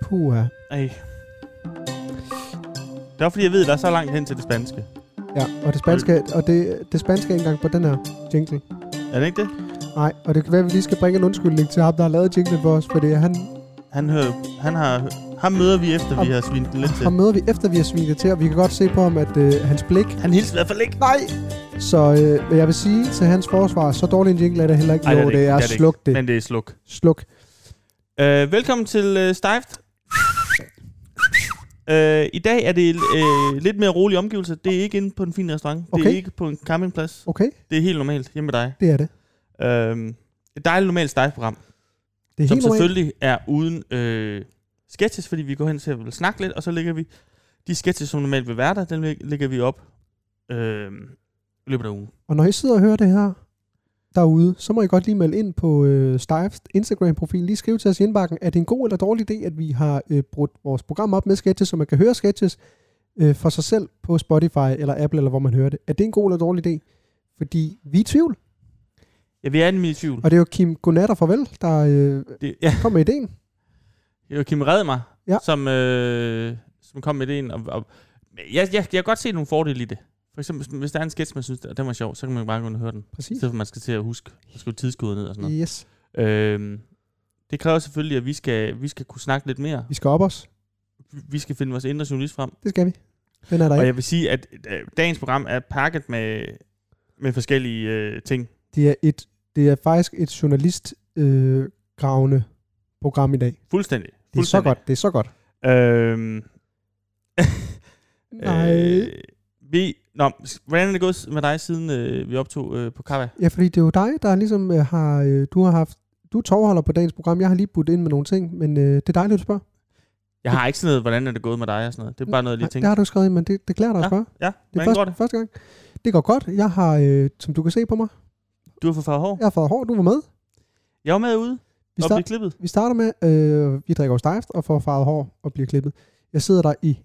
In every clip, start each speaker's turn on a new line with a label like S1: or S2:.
S1: Puha.
S2: Ej. Det var fordi, jeg ved, der er så langt hen til det spanske.
S1: Ja, og det spanske, og det, det spanske er ikke engang på den her jingle.
S2: Er det ikke det?
S1: Nej, og det kan være, at vi lige skal bringe en undskyldning til ham, der har lavet jinglen for os, fordi han,
S2: Han, hører, han har... Ham møder vi efter, vi har svinet den lidt til.
S1: ham møder vi efter, vi har svinet det til, og vi kan godt se på ham, at øh, hans blik...
S2: Han hilser i hvert fald ikke.
S1: Nej! Så øh, hvad jeg vil sige til hans forsvar, så dårlig en jingle er det heller ikke.
S2: Ej,
S1: Ej, jo, det,
S2: ikke.
S1: er,
S2: ikke.
S1: sluk det.
S2: Men det er sluk.
S1: Sluk.
S2: Øh, velkommen til øh, Stift. Øh, I dag er det øh, lidt mere rolige omgivelser. Det er ikke inde på en fin restaurant. Okay. Det
S1: Okay.
S2: er ikke på en campingplads.
S1: Okay,
S2: Det er helt normalt hjemme med dig.
S1: det er det.
S2: Øh, et dejligt normalt Stift-program,
S1: Det er
S2: som
S1: helt normalt.
S2: selvfølgelig er uden øh, sketches, fordi vi går hen til at vil snakke lidt, og så lægger vi de sketches, som normalt vil være der, den læg- lægger vi op øh, i løbet af ugen.
S1: Og når I sidder og hører det her derude, så må I godt lige melde ind på øh, Stives Instagram-profil. Lige skriv til os i indbakken, er det en god eller dårlig idé, at vi har øh, brudt vores program op med sketches, så man kan høre sketches øh, for sig selv på Spotify eller Apple, eller hvor man hører det. Er det en god eller dårlig idé? Fordi vi er i tvivl.
S2: Ja, vi er nemlig i tvivl.
S1: Og det er jo Kim Godnat og farvel, der øh,
S2: Det, ja,
S1: kom med ideen.
S2: Joachim Red mig, ja.
S1: Ja.
S2: som, øh, som kom med ideen. Og, og, jeg, jeg, jeg kan godt se nogle fordele i det. For eksempel, hvis der er en sketch, man synes, at den var sjov, så kan man jo bare gå ind og høre den. I
S1: Præcis.
S2: stedet for, at man skal til at huske at skrive tidskoder ned og sådan noget.
S1: Yes.
S2: Øhm, det kræver selvfølgelig, at vi skal, vi skal kunne snakke lidt mere.
S1: Vi skal op os.
S2: Vi skal finde vores indre journalist frem.
S1: Det skal vi. Den er der
S2: Og
S1: ikke.
S2: jeg vil sige, at øh, dagens program er pakket med, med forskellige øh, ting.
S1: Det er, et, det er faktisk et journalist øh, gravende program i dag.
S2: Fuldstændig.
S1: Det er så godt. Det er så godt.
S2: Øhm,
S1: Nej.
S2: Øh, vi, nå, hvordan er det gået med dig, siden øh, vi optog øh, på Kava?
S1: Ja, fordi det er jo dig, der ligesom øh, har, øh, du har haft, du er tovholder på dagens program. Jeg har lige budt ind med nogle ting, men øh, det er dejligt, at du spørger.
S2: Jeg har ikke sådan noget, hvordan er det gået med dig og sådan noget. Det er bare noget, jeg lige
S1: Nej, det
S2: tænker.
S1: har du skrevet, ind, men det, det klæder dig at spørge.
S2: Ja,
S1: Det er
S2: hvordan går
S1: første,
S2: det?
S1: første gang. Det går godt. Jeg har, øh, som du kan se på mig,
S2: Du har fået farvet hår.
S1: jeg har fået hår, du var med.
S2: Jeg var med ude
S1: Vi,
S2: og
S1: start,
S2: blev klippet.
S1: vi starter med, øh, vi drikker jo stejft og får farvet hår og bliver klippet. Jeg sidder der i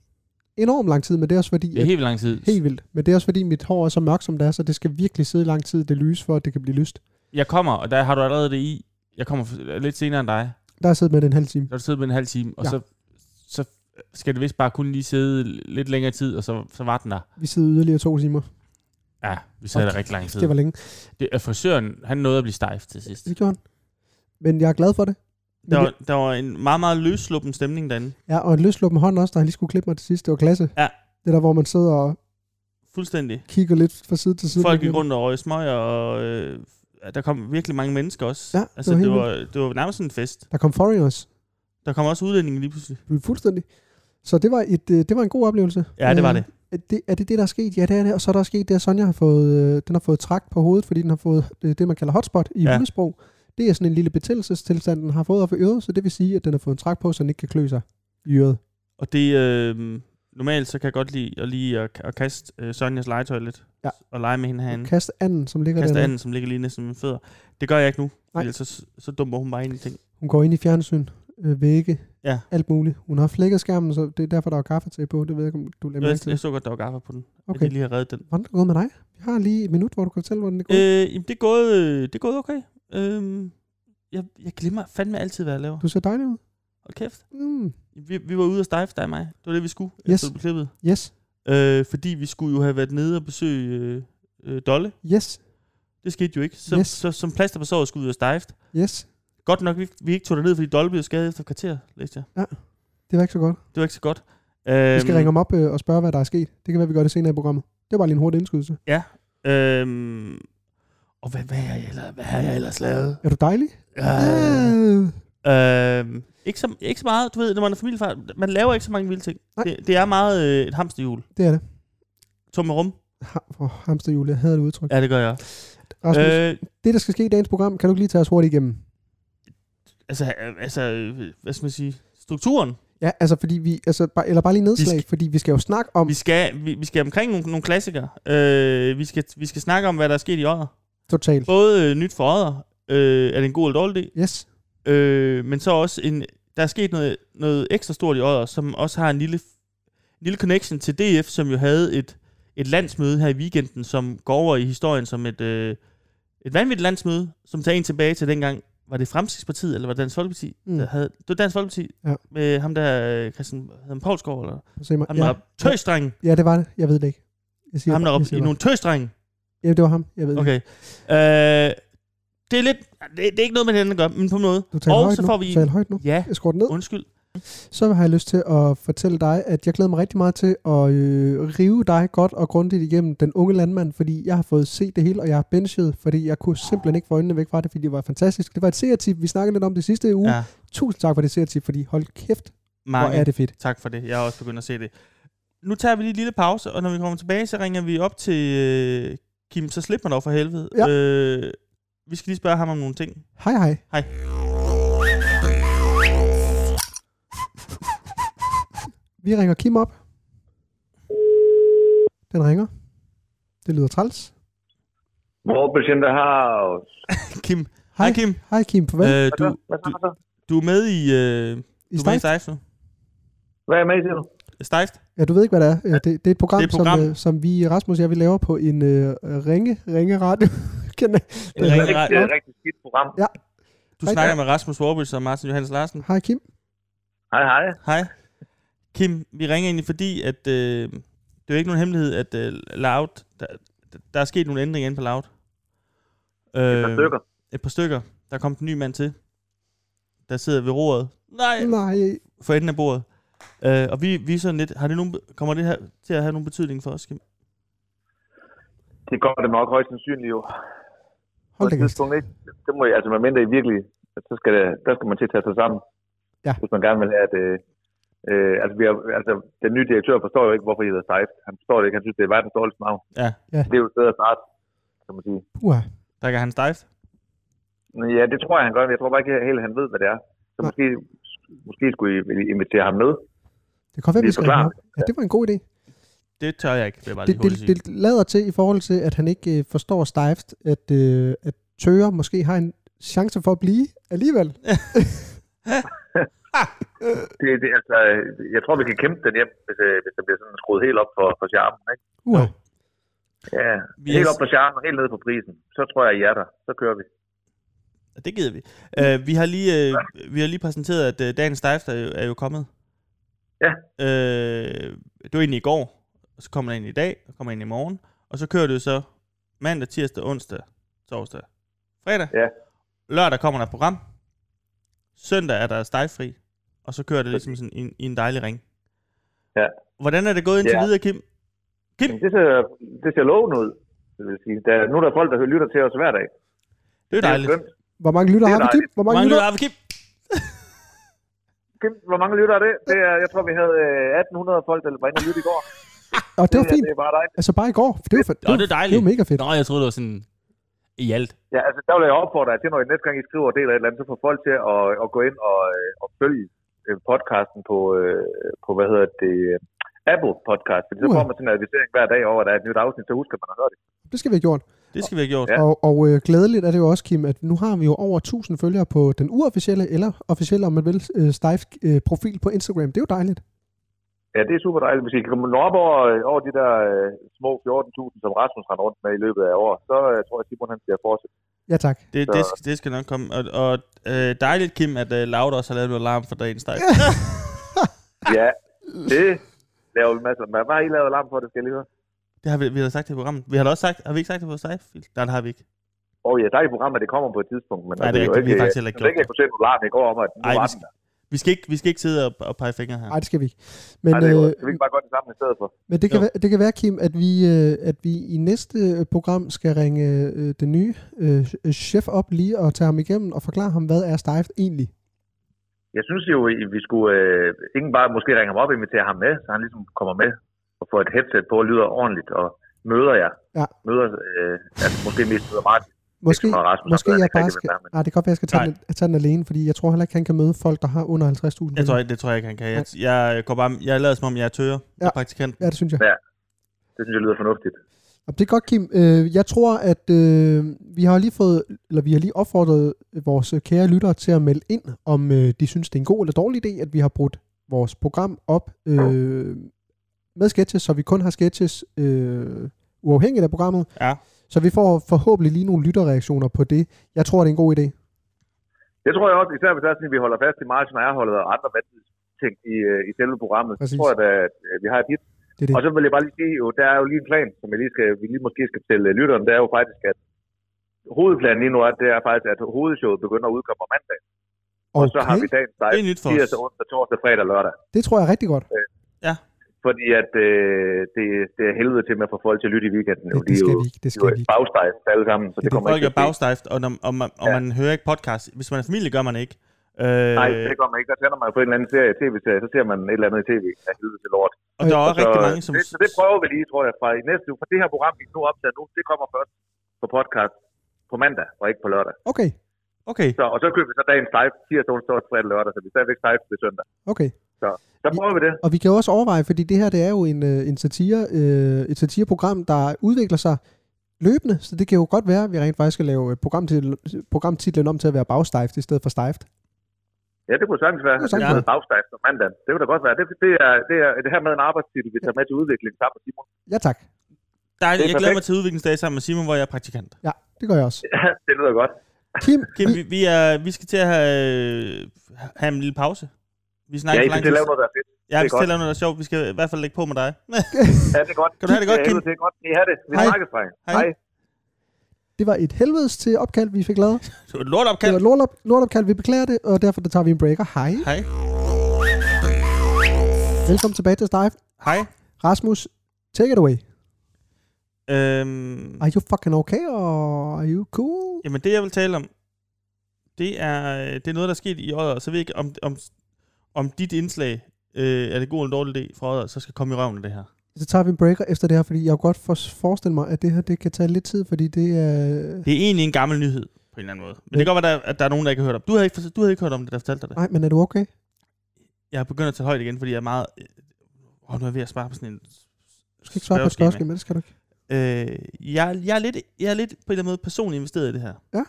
S1: enormt lang tid, men det er også fordi,
S2: Det er
S1: at,
S2: helt lang tid.
S1: helt vildt. Men det er også fordi, mit hår er så mørkt, som det er, så det skal virkelig sidde i lang tid, det lyse, for at det kan blive lyst.
S2: Jeg kommer, og der har du allerede det i. Jeg kommer f- lidt senere end dig.
S1: Der har jeg siddet med den en halv time.
S2: Der har du siddet med en halv time, og
S1: Ja.
S2: så, så skal det vist bare kun lige sidde lidt længere tid, og så, så var den der.
S1: Vi sidder yderligere to timer.
S2: Ja, vi sad
S1: Og
S2: der rigtig lang tid.
S1: Det var længe.
S2: Det, og frisøren, han nåede at blive stejf til sidst.
S1: Det gjorde han. Men jeg er glad for det. Men
S2: Der
S1: jeg-
S2: var, der var en meget, meget løsluppen stemning derinde.
S1: Ja, og en løsluppen hånd også, der lige skulle klippe mig til sidst. Det var klasse.
S2: Ja.
S1: Det der, hvor man sidder og
S2: Fuldstændig.
S1: kigger lidt fra side til side.
S2: Folk gik rundt og røg smøger, og øh, der kom virkelig mange mennesker også.
S1: Ja, det
S2: altså,
S1: var helt
S2: det, var, det var nærmest en fest.
S1: Der kom foreigners
S2: Der kom også udlændinge lige pludselig.
S1: fuldstændig. Så det var, et, øh, det var en god oplevelse. Øh,
S2: Ja, det var det.
S1: Er det, er det det, der er sket? Ja, det er det. Og så er der sket det, at Sonja har fået, øh, den har fået træk på hovedet, fordi den har fået øh, det, man kalder hotspot i
S2: Ja.
S1: ja. hundesprog. Det er sådan en lille betændelsestilstand, den har fået op i øret, så det vil sige, at den har fået en træk på, så den ikke kan klø sig i øret.
S2: Og det, øh, normalt så kan jeg godt lide at, lige at, at kaste øh, Sonjas legetøj lidt.
S1: Ja.
S2: Og lege med hende herinde. Okay.
S1: Kast anden, som ligger
S2: Kaste
S1: der.
S2: anden, som ligger lige næsten med fødder. Det gør jeg ikke nu.
S1: Nej.
S2: Ellers så, så dummer hun bare ind i ting.
S1: Hun går ind i fjernsyn, øh, vægge,
S2: Ja.
S1: alt muligt. Hun har flækket skærmen, så det er derfor, der er kaffe til på. Det ved jeg ikke, om du lader
S2: Jeg,
S1: mærke
S2: jeg, jeg
S1: til.
S2: så godt, der var gaffer på den.
S1: altså-
S2: Okay.
S1: Okay.
S2: Jeg lige har reddet den.
S1: Hvordan er det gået med dig? Vi har lige et minut, hvor du kan fortælle, hvordan det går. Øh.
S2: Øh, jamen, det er gået, øh, det er gået okay. Øh, jeg, jeg glemmer fandme altid, hvad jeg laver.
S1: Du ser dejlig ud.
S2: Hold kæft.
S1: Mm.
S2: Vi, vi var ude og stejfe dig og mig. Det var det, vi skulle.
S1: Yes.
S2: Yes. Efter klippet.
S1: Yes,
S2: Øh, fordi vi skulle jo have været nede og besøge øh, øh, Dolle.
S1: yes,
S2: Det skete jo ikke. Så, yes.
S1: Yes.
S2: så, som plaster på såret skulle vi ud og stejft.
S1: yes.
S2: Godt nok, vi, vi ikke tog derned, fordi Dolle blev skadet efter et kvarter, læste jeg.
S1: Det var ikke så godt.
S2: Det var ikke så godt. Øhm,
S1: Vi skal ringe
S2: om.
S1: ham op øh, og spørge, hvad der er sket. Det kan være, vi gør det senere i programmet. Det var bare lige en hurtig indskydelse.
S2: Øhm, og hvad, hvad, har jeg ellers, hvad har jeg ellers lavet?
S1: Er du dejlig?
S2: Øh,
S1: Øh.
S2: øhm, ikke, så, ikke så meget, du ved, når man er familiefar, man laver ikke så mange vilde ting.
S1: Nej.
S2: Det, det er meget øh, et hamsterhjul.
S1: Det er det.
S2: Tomme rum.
S1: Ha- for hamsterhjul, jeg havde det udtryk.
S2: Ja, det gør jeg.
S1: Rasmus, øh.
S2: Øh,
S1: det der skal ske i dagens program, kan du ikke lige tage os hurtigt igennem?
S2: altså, øh, altså, øh, hvad skal man sige? Strukturen.
S1: Ja, altså fordi vi, altså, bare, eller bare lige nedslag,
S2: Vi
S1: fordi vi skal jo snakke om,
S2: Vi skal, vi, vi skal omkring nogle, nogle klassikere. Øh, vi, skal, vi skal snakke om, hvad der er sket i året.
S1: totalt.
S2: Både øh, nyt for året, øh, er det en god eller dårlig del,
S1: Yes,
S2: øh, men så også, en, der er sket noget, noget ekstra stort i året, som også har en lille, en lille connection til DF, som jo havde et, et landsmøde her i weekenden, som går over i historien som et, øh, et vanvittigt landsmøde, som tager en tilbage til dengang var det Fremskridspartiet, eller var det Dansk Folkeparti,
S1: Mm.
S2: mm. der havde... Det var Dansk Folkeparti
S1: Ja.
S2: med ham der, øh, Christian havde han Poulsgaard, eller...
S1: Se mig.
S2: Han
S1: Ja,
S2: var tøsdreng.
S1: ja, det var det. Jeg ved det ikke. Jeg siger
S2: Ham
S1: bare- jeg
S2: deroppe
S1: siger
S2: i
S1: bare.
S2: nogle tøsdrenge.
S1: Ja, det var ham. Jeg ved det ikke.
S2: Okay. Øh, det er lidt... Det, det, er ikke noget med hinanden at gøre, men på noget.
S1: Du taler
S2: Og
S1: højt
S2: så
S1: nu.
S2: får vi-
S1: Tal højt nu.
S2: Ja,
S1: Jeg skruer den ned.
S2: undskyld.
S1: Så har jeg lyst til at fortælle dig, at jeg glæder mig rigtig meget til at øh, rive dig godt og grundigt igennem Den Unge Landmand, fordi jeg har fået set det hele, og jeg har benchet, fordi jeg kunne simpelthen ikke få øjnene væk fra det, fordi det var fantastisk. Det var et seertip, vi snakkede lidt om det sidste uge. Ja.
S2: Ja,
S1: Tusind tak for det seertip, fordi hold kæft, hvor
S2: mange
S1: er det fedt.
S2: tak for det. Jeg har også begyndt at se det. Nu tager vi lige en lille pause, og når vi kommer tilbage, så ringer vi op til øh, Kim, så slip mig dog for helvede.
S1: Ja.
S2: Øh, vi skal lige spørge ham om nogle ting.
S1: Hej hej.
S2: Hej.
S1: Vi ringer Kim op. Den ringer. Det lyder træls.
S3: Morpes in the house.
S2: Kim.
S1: Hej,
S2: Hej Kim.
S1: Hej Kim, på vel.
S2: Øh, du,
S3: Hvad så,
S2: du,
S3: hvad så?
S2: du er med i, øh,
S1: I
S2: du er med
S1: start?
S2: i Stejft nu.
S3: Hvad er med til nu?
S2: Stejft?
S1: Ja, du ved ikke, hvad det er. Øh, Det, det er et program,
S2: Det er et program.
S1: Som, øh, som vi, Rasmus og jeg, vi laver på en øh, ringe, ringe radio.
S3: Det
S2: er
S3: er
S2: rigtig rart.
S3: rigtig- det er et rigtig skidt program.
S2: Du
S1: Hej,
S2: snakker med Rasmus Warbush og Martin Johannes Larsen.
S1: Hej Kim.
S3: Hej, hej.
S2: Hej. Kim, vi ringer egentlig fordi, at øh, det er jo ikke nogen hemmelighed, at øh, Loud, der, der er sket nogle ændringer inde på Loud.
S3: Et par stykker.
S2: Et par stykker. Der kom en ny mand til, der sidder ved roret. Nej,
S1: Nej,
S2: for enden af bordet. Øh, og vi, vi er sådan lidt, har det nogen, kommer det her til at have nogen betydning for os, Kim?
S3: Det går det nok højst sandsynligt jo. På
S1: hold da
S3: et
S1: kæft.
S3: tidspunkt ikke. Det må, altså, man mindre I virkelig, så skal det, der skal man til at tage sig sammen.
S1: Ja.
S3: Hvis man gerne vil have, at... Øh, øh, altså, vi har, altså, den nye direktør forstår jo ikke, hvorfor I hedder Sejf. Han forstår det ikke. Han synes, det er verdens dårligste navn.
S2: Ja.
S1: Ja.
S3: Det er jo et sted at starte, kan man sige.
S1: Puha.
S2: Drikker han stejft?
S3: Men Ja, det tror jeg, han gør. men Jeg tror bare ikke helt, han ved, hvad det er. Så
S1: Nej.
S3: måske, måske skulle I invitere ham med.
S1: Det kan godt være,
S3: Det
S1: vi
S3: er
S1: skal
S3: forklaret.
S1: ringe ham. Ja, det var en god idé.
S2: Det tør jeg ikke, vil jeg bare lige
S1: Det,
S2: hurtigt
S1: det,
S2: sige.
S1: det lader til i forhold til, at han ikke øh, forstår stejft, at, øh, at Tøger måske har en chance for at blive alligevel.
S3: Det, det, altså, jeg tror, vi kan kæmpe den hjem, hvis, øh, hvis der bliver sådan skruet helt op for, for charmen. Ikke?
S1: Uha.
S2: Jo.
S3: Ja,
S2: Vi
S3: helt
S2: er-
S3: op på charmen, helt ned på prisen. Så tror jeg, I er der. Så kører vi.
S2: Og Det gider vi. Uh, vi, har lige, uh, vi har lige præsenteret, at uh, dagens Dive er, jo- er jo kommet.
S3: Ja.
S2: Uh, det var egentlig i går, og så kommer den ind i dag, og kommer ind i morgen, og så kører det jo så mandag, tirsdag, onsdag, torsdag, fredag.
S3: Ja.
S2: Lørdag kommer der et program. Søndag er der stejfri, og så kører det ligesom sådan i, en- i en dejlig ring.
S3: Ja.
S2: Hvordan er det gået indtil
S3: Ja.
S2: videre, Kim? Kim,
S3: Det ser, det ser lovende ud. vil jeg sige. Der, nu er der folk, der lytter til os hver dag.
S2: det er dejligt.
S3: skønt.
S1: Hvor mange lytter
S3: Det er
S1: har vi, Kim?
S3: dejligt.
S1: Hvor mange
S2: Mange
S1: lytter?
S2: lytter, Kim.
S3: Kim, Hvor mange lytter er det? det er, jeg tror, vi havde øh, 1800 folk, der var inde og lytte i går.
S1: Og det var
S3: er-
S1: fint.
S3: Det er bare dejligt.
S1: Altså bare i går. Det var, for,
S2: Nå, det er
S1: det
S2: dejligt.
S1: var mega fedt.
S2: Nå, jeg troede, det var sådan i alt.
S3: Ja, altså, der vil jeg opfordre jer til, når I næste gang I skriver og deler et eller andet, så får folk til at, at gå ind og, øh, og følge øh, podcasten på, øh, på, hvad hedder det, øh, Apple Podcast. Fordi så
S1: Uha.
S3: får man sådan en advisering hver dag over, at der er et nyt afsnit, så husker man at høre det.
S1: Det skal vi have gjort.
S2: Det skal vi have gjort.
S3: Ja.
S1: Og, og øh, glædeligt er det jo også, Kim, at nu har vi jo over 1000 følgere på den uofficielle, eller officielle, om man vil, øh, stejft øh, profil på Instagram. Det er jo dejligt.
S3: Ja, det er super dejligt. Hvis I kan komme op over, over de der øh, små 14.000, som Rasmus render rundt med i løbet af året, så øh, tror jeg, at Simon han skal fortsætte.
S1: Ja, tak.
S2: Det,
S3: Så-
S2: det, skal, det skal nok komme. Og, og øh, dejligt, Kim, at øh, Laud også har lavet noget larm for dagens dag.
S3: Ja, det laver vi masser af. Hvad har I lavet alarm for, det skal jeg lige høre?
S2: Det har vi, vi har sagt det i programmet. Vi har da også sagt, har vi ikke sagt det på Sejfield? Nej, det har vi ikke.
S3: Åh oh, ja, der er i programmet, det kommer på et tidspunkt, men altså,
S2: Nej, det er rigtigt. Vi har faktisk heller ikke
S3: jeg ved ikke,
S2: gjort
S3: jeg kunne se en alarm i går om, at nu
S2: Ej, vi
S3: var den
S2: skal, vi, skal ikke, vi skal ikke sidde og, og pege fingre her.
S1: Nej, det skal vi ikke. Men,
S3: Nej, det er
S1: øh,
S3: godt. Skal vi ikke bare gøre det sammen i stedet for?
S1: men det, kan
S2: Jo.
S1: være, det kan være, Kim, at vi, øh, at vi i næste øh, program skal ringe øh, den nye øh, chef op lige og tage ham igennem og forklare ham, hvad er stejft egentlig.
S3: Jeg synes jo, at vi skulle øh, ikke bare måske ringe ham op og invitere ham med, så han ligesom kommer med og får et headset på og lyder ordentligt og møder jer.
S1: Ja.
S3: Møder, øh, altså måske mest møder Martin.
S1: Måske,
S3: Ikke så meget Rasmus,
S1: måske
S3: han ved
S1: jeg
S3: ikke
S1: bare
S3: rigtig,
S1: skal...
S3: hvem der er, men-
S1: Nej, det kan godt være, jeg skal tage
S2: Nej.
S1: den, tage den alene, fordi jeg tror heller ikke, han kan møde folk, der har under 50.000.
S2: Jeg tror,
S1: følgere.
S2: ikke- det tror jeg ikke, han kan. Jeg, jeg, går bare, jeg lader som om, jeg er tøger ja.
S1: Ja.
S2: og praktikant.
S1: Ja, det synes jeg.
S3: Det synes jeg lyder fornuftigt.
S1: Jamen, Det er godt, Kim. Øh, Jeg tror, at øh, vi har lige fået, eller vi har lige opfordret vores kære lyttere til at melde ind, om øh, de synes, det er en god eller dårlig idé, at vi har brudt vores program op øh, med sketches, så vi kun har sketches øh, uafhængigt af programmet.
S2: Ja.
S1: Så vi får forhåbentlig lige nogle lytterreaktioner på det. Jeg tror, det er en god idé.
S3: Det tror jeg også, især hvis det er sådan, at vi holder fast i Martin og jeg holder og andre vanvittige ting i, øh, i selve programmet. Så
S1: Præcis.
S3: tror jeg da, at øh, vi har et hit.
S1: Det er det.
S3: Og så vil jeg bare lige sige, jo, der er jo lige en plan, som jeg lige skal, vi lige måske skal fortælle øh, lytteren, det er jo faktisk, at hovedplanen lige nu er, det er faktisk, at hovedshowet begynder at udkomme om mandag. Og så har vi
S1: Okay,
S3: dagens dig,
S2: Det er nyt for os.
S3: tirsdag, onsdag, torsdag, fredag, lørdag.
S1: det tror jeg er rigtig godt.
S3: Fordi at øh, det, det er helvede til med at få folk til at lytte i weekenden.
S1: Det,
S3: jo.
S1: det
S3: er
S1: skal
S3: jo,
S1: vi ikke. Det
S3: de er
S1: skal vi
S3: jo
S1: ikke.
S3: bagstejst alle sammen, så
S1: Det er
S3: det,
S1: det.
S3: kommer
S2: Folk
S3: ikke
S2: er
S3: til at ske.
S2: bagstejft, og, når, og, man, og
S3: Ja.
S2: man hører ikke podcast. Hvis man er familie, gør man ikke. Øh,
S3: Nej, det gør man ikke. Der tænder man på en eller anden serie, tv-serie, så ser man et eller andet i tv af helvede til lort.
S2: og der er også
S3: så,
S2: rigtig mange, som...
S3: Det, så det prøver vi lige, tror jeg, fra i næste uge. For det her program, vi nu optager nu, det kommer først på podcast på mandag, og ikke på lørdag.
S1: Okay,
S2: Okay,
S3: Så, og så køber vi så dagens live, tirsdag, onsdag, torsdag, fredag, lørdag, så vi er stadigvæk live til søndag.
S1: okay.
S3: Så prøver vi det.
S1: Og vi kan jo også overveje, fordi det her det er jo en, øh, en satire, øh, et satireprogram, der udvikler sig løbende, så det kan jo godt være, at vi rent faktisk skal lave øh, programtitlen, programtitlen om til at være bagstejft i stedet for stejft.
S3: Ja, det kunne sagtens være.
S1: Det kunne sagtens
S3: Det kunne sagtens være. om mandagen. Det kunne da godt være. Det, det, er, det er det her med en arbejdstitel, vi tager med til udvikling sammen med Simon.
S1: Ja tak.
S2: der,
S3: det er
S2: jeg glæder mig
S3: perfekt.
S2: til udviklingsdag sammen med Simon, hvor jeg er praktikant.
S1: Ja, det gør jeg også.
S3: Ja, det lyder godt.
S1: Kim,
S2: Kim, vi, vi, er, vi skal til at have, øh, have en lille pause. Vi
S3: ja,
S2: snakker
S3: I
S2: for
S3: skal
S2: lang
S3: til
S2: tid.
S3: at lave noget, der er fedt.
S2: Ja, vi
S3: det er
S2: skal til at lave noget der er sjovt. Vi skal i hvert fald lægge på med dig.
S3: Ja, det er godt.
S2: Kan du have det godt,
S3: Ja,
S2: Kim?
S3: Det er godt. I har det. Vi
S2: Hej.
S3: snakkes, dreng.
S2: Hej.
S3: Hej.
S1: det var et helvedes til opkald, vi fik lavet.
S2: det var et lortopkald.
S1: Det var et lortop- lortopkald, vi beklager det, og derfor der tager vi en breaker. Hej.
S2: Hej.
S1: Velkommen tilbage til Stejf.
S2: Hej.
S1: Rasmus, take it away.
S2: Øhm,
S1: Are you fucking okay, or are you cool?
S2: Jamen det, jeg vil tale om, det er, øh, det er noget, der er sket i Odder, så ved jeg ikke, om, om, om dit indslag, øh, er det god eller dårlig idé fra Odder, så skal komme i røven af det her.
S1: Så tager vi en breaker efter det her, fordi jeg kunne godt for- forestille mig, at det her det kan tage lidt tid, fordi det er...
S2: Det er egentlig en gammel nyhed, på en eller anden måde. Men det kan godt være, der- at der er nogen, der ikke har hørt om Du havde ikke, du havde ikke hørt om det, der fortalte dig det.
S1: Nej, men er du okay?
S2: Jeg har begyndt at tage højt igen, fordi jeg er meget... Øh, åh, nu er jeg ved at svare på sådan en...
S1: Du skal ikke svare på et spørgsmål, men det skal du ikke.
S2: Øh, jeg, jeg, er lidt, jeg er lidt på en eller anden måde personligt investeret i det her.
S1: Ja.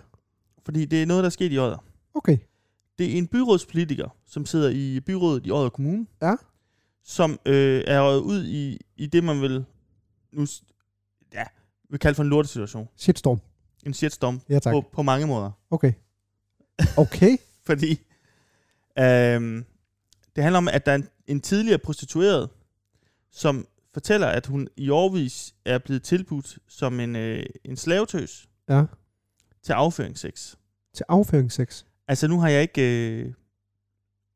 S2: Fordi det er noget, der er sket i Odder.
S1: Okay.
S2: Det er en byrådspolitiker, som sidder i byrådet i Odder Kommune.
S1: Ja.
S2: Som øh, er røget ud i, i det, man vil nu s- ja, vil kalde for en lortesituation.
S1: Shitstorm.
S2: En shitstorm
S1: Ja, tak.
S2: på, på mange måder.
S1: Okay. Okay.
S2: Fordi øh, det handler om, at der er en, en tidligere prostitueret, som fortæller, at hun i årvis er blevet tilbudt som en, øh, en slavetøs
S1: Ja.
S2: til afføringsseks.
S1: Til afføringssex.
S2: Altså nu har jeg ikke... Øh,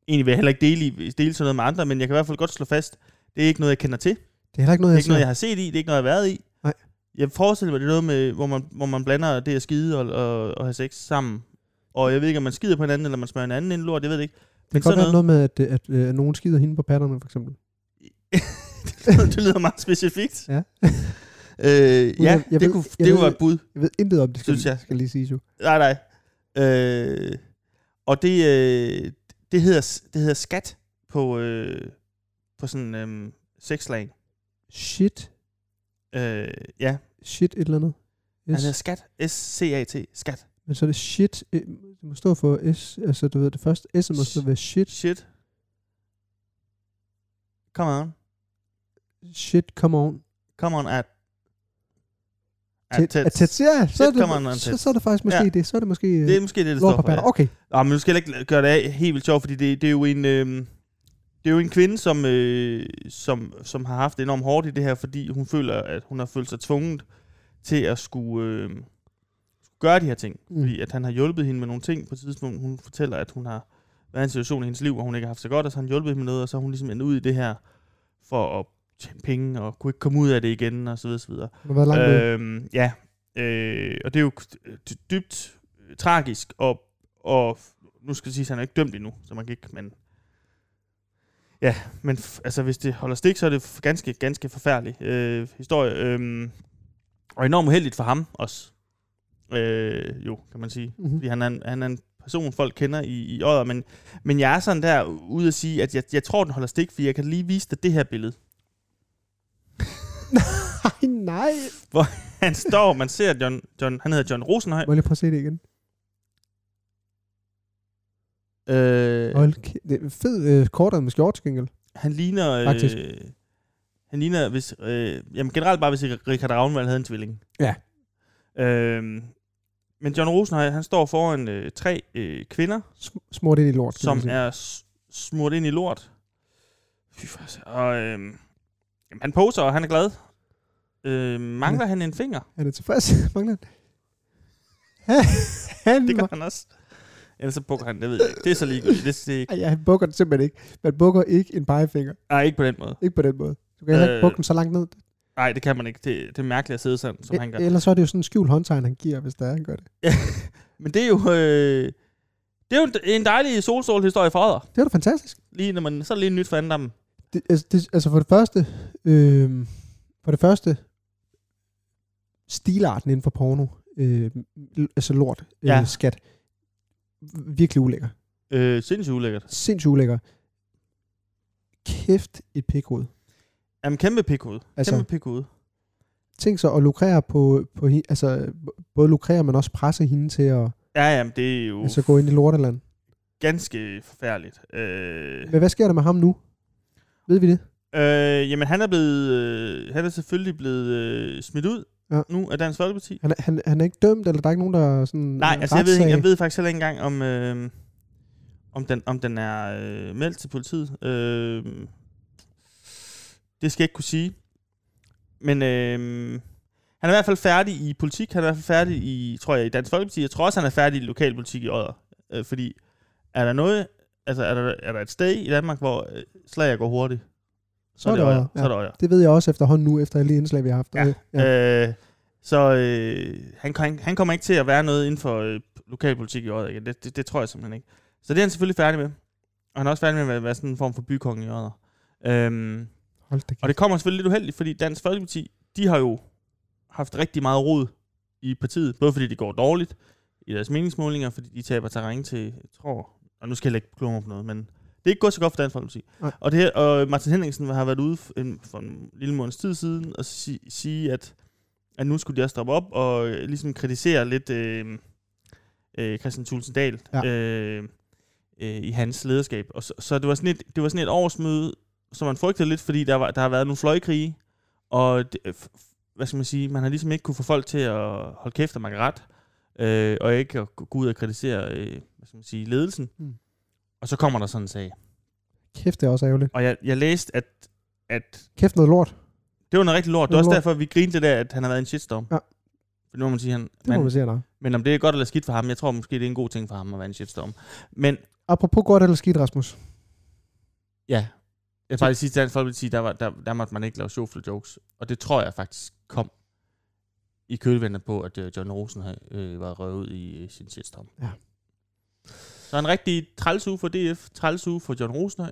S2: egentlig vil jeg heller ikke dele, i- dele sådan noget med andre, men jeg kan i hvert fald godt slå fast, det er ikke noget, jeg kender til. Det
S1: Det er heller ikke noget,
S2: er
S1: jeg
S2: ikke
S1: siger.
S2: noget, jeg har set i, det er ikke noget, jeg har været i.
S1: Nej.
S2: Jeg forestiller mig, det er noget med, hvor man, hvor man blander det at skide og, og, og have sex sammen. Og jeg ved ikke, om man skider på hinanden, eller man smører hinanden ind i lort, jeg ved det ikke.
S1: Det
S2: Men
S1: kan godt
S2: sådan
S1: være
S2: noget,
S1: noget med, at, øh, at, øh, at nogen skider hende på patterne, for eksempel.
S2: noget. det lyder meget specifikt.
S1: Ja.
S2: øh,
S1: jeg
S2: ja, det,
S1: ved-
S2: kunne,
S1: jeg
S2: det
S1: ved-
S2: kunne være et bud.
S1: Jeg ved intet om det, skal,
S2: Synes jeg.
S1: skal lige sige jo.
S2: Nej, nej. Øh, og det, øh, det, hedder, det hedder skat på, øh, på sådan øh, sexslang.
S1: Shit.
S2: Øh, ja,
S1: Shit et eller andet.
S2: yes.
S1: Yes.
S2: han hedder skat. S-C-A-T. Skat.
S1: Men så er det shit. øh, Det må stå for S. Altså, du ved, det første S må stå for shit.
S2: Shit. Come on.
S1: Shit, come on.
S2: Come on at...
S1: Tæt,
S2: tits.
S1: tæt. tæt. Ja, så er,
S2: Tæt
S1: det,
S2: kommer han, når han
S1: så,
S2: tæt.
S1: så er det faktisk måske
S2: Ja.
S1: det. Så er det måske øh,
S2: Det er måske det, det
S1: lort på
S2: står for.
S1: patter.
S2: Ja.
S1: Okay,
S2: Nå, men nu skal jeg heller ikke gøre det af helt vildt sjovt, fordi det, det er jo en... Øh, det er jo en kvinde, som, øh, som, som har haft det enormt hårdt i det her, fordi hun føler, at hun har følt sig tvunget til at skulle øh, skulle gøre de her ting.
S1: Mm.
S2: Mm. Fordi at han har hjulpet hende med nogle ting på et tidspunkt. Hun fortæller, at hun har været i en situation i hendes liv, hvor hun ikke har haft så godt, og så har han hjulpet hende med noget, og så er hun ligesom endt ud i det her for at tjene penge, og kunne ikke komme ud af det igen, og så videre, så videre.
S1: det har været langt øh,
S2: Øhm, ja, øh, og det er jo dy- dybt øh, tragisk, og, og nu skal det sige, at han er ikke dømt endnu, så man kan ikke, men... Ja, men f- altså, hvis det holder stik, så er det f- ganske, ganske forfærdelig øh, historie. Øh, og enormt uheldigt for ham også. Øh, jo, kan man sige.
S1: mm-hmm.
S2: Fordi han er en, han er en person, folk kender i, i året, men, men jeg er sådan der ude at sige, at jeg, jeg tror, den holder stik, fordi jeg kan lige vise dig det her billede.
S1: Nej, nej.
S2: Han står, man ser John, John han hedder John Rosenhøj.
S1: Må jeg lige prøve at se det igen?
S2: Øh,
S1: Hold kæ- det er en fed øh, kortere med skjortskængel.
S2: Han ligner... Øh,
S1: Faktisk.
S2: Han ligner, hvis... Øh, jamen generelt bare, hvis Richard Ravnvald havde en tvilling.
S1: Ja.
S2: Øhm, Men John Rosenhøj, han står foran øh, tre øh, kvinder,
S1: Sm- Smurt ind i lort. kan
S2: som
S1: man sige.
S2: er s- smurt ind i lort. Fy for sig. Og øhm, jamen, han poser, og han er glad. Øh, mangler han en finger?
S1: Han er tilfreds. Mangler han. han
S2: Det gør han også. Ellers så bukker han, det ved jeg ikke. Det er så ligegyldigt. Det, det er ikke.
S1: Ej, ja, han bukker det simpelthen ikke. Man bukker ikke en pegefinger.
S2: Nej, ikke på den måde.
S1: Ikke på den måde. Du kan heller ikke
S2: Øh,
S1: bukke den så langt ned.
S2: Nej, det kan man ikke. Det, det er mærkeligt at sidde sådan, som han gør.
S1: E- Ellers så er det jo sådan en skjult håndtegn, han giver, hvis der er, han gør det.
S2: Men det er jo... Øh, det er jo en- en dejlig solstrålehistorie fra Odder.
S1: Det var da fantastisk.
S2: Lige når man, så er det lige nyt for andendammen.
S1: Det, altså, det, altså for det første, øh, for det første, stilarten inden for porno, øh, l- altså lort, øh,
S2: Ja.
S1: ja. skat, virkelig ulækker.
S2: Øh, sindssygt ulækkert.
S1: Sindssygt ulækker. Kæft et pikhoved.
S2: Jamen, kæmpe pikhoved. Altså,
S1: Altså-
S2: kæmpe pikhoved.
S1: Tænk så at lukrere på, på hi- altså både lukrere, men også presse hende til at
S2: Ja, jamen, det er jo
S1: altså, gå ind i lorteland.
S2: ganske forfærdeligt. Øh,
S1: Men hvad sker der med ham nu? Ved vi det?
S2: øh, jamen, han er, blevet, øh, han er selvfølgelig blevet øh, smidt ud ja.
S1: Ja.
S2: nu af Dansk Folkeparti.
S1: Han, er- han, han er ikke dømt, eller der er ikke nogen, der er sådan...
S2: Nej, altså, jeg ved,
S1: retssag?
S2: ikke, jeg ved faktisk heller ikke engang, om, øh, om, den, om den er øh, meldt til politiet. Øh, det skal jeg ikke kunne sige. Men øh, han er i hvert fald færdig i politik. Han er i hvert fald færdig i, tror jeg, i Dansk Folkeparti. Jeg tror også, han er færdig i lokalpolitik i Odder. Øh, fordi er der noget... Altså, er der, er der et sted i Danmark, hvor øh, slager går hurtigt? Så, er det Odder.
S1: Ja.
S2: Så er det Odder.
S1: Det ved jeg også efterhånden nu, efter alle de indslag, vi har haft.
S2: Ja.
S1: Øh, ja.
S2: Ja. Øh, så øh, han, han, han kommer ikke til at være noget inden for øh, lokalpolitik i Odder. igen. Det, det, det tror jeg simpelthen ikke. Så det er han selvfølgelig færdig med. Og han er også færdig med at være- være sådan en form for bykonge i Odder. Øhm,
S1: Hold da
S2: og
S1: kæft.
S2: det kommer selvfølgelig lidt uheldigt, fordi Dansk Folkeparti, de har jo haft rigtig meget rod i partiet. Både fordi det går dårligt i deres meningsmålinger, fordi de taber terræn til, jeg tror, og nu skal jeg ikke kloge mig på noget, men det er ikke gået så godt for Dansk Folkeparti.
S1: Nej.
S2: Og, det her, og Martin Henriksen har været ude for en, for en lille måneds tid siden og si, sige, at, at nu skulle de også strappe op og øh, ligesom kritisere lidt øh, øh, Christian Thulsen Dahl ja.
S1: Ja.
S2: øh, øh, i hans lederskab. Og så, så det, var sådan et, det var sådan et årsmøde, som man frygtede lidt, fordi der, var, der har været nogle fløjkrige, og det, øh, f- f- hvad skal man sige, man har ligesom ikke kunne få folk til at holde kæft og makke ret, øh, og ikke at gå gå ud og kritisere øh, hvad skal man sige, ledelsen. Mm.
S1: Mm.
S2: Og så kommer der sådan en sag.
S1: Kæft, det er også ærgerligt.
S2: Og jeg, jeg læste, at, at
S1: Kæft noget lort,
S2: det var noget rigtig lort. Det
S1: Det
S2: var
S1: var
S2: også
S1: lort.
S2: derfor, vi grinte det der, at han har været i en shitstorm.
S1: Ja.
S2: For nu må man sige, han,
S1: det må man
S2: man,
S1: sige, nej.
S2: men om det er godt eller skidt for ham, jeg tror måske, det er en god ting for ham at være i en shitstorm. Men
S1: Apropos godt eller skidt, Rasmus.
S2: ja, jeg vil faktisk sige til Dansk Folkeparti, der, var, der, der måtte man ikke lave sjofle jokes. Og det tror jeg faktisk kom i kølvandet på, at øh, John Rosen havde, øh, var røvet ud i øh, sin shitstorm.
S1: Ja.
S2: Så en rigtig træls uge for DF, træls uge for John Rosenhøj.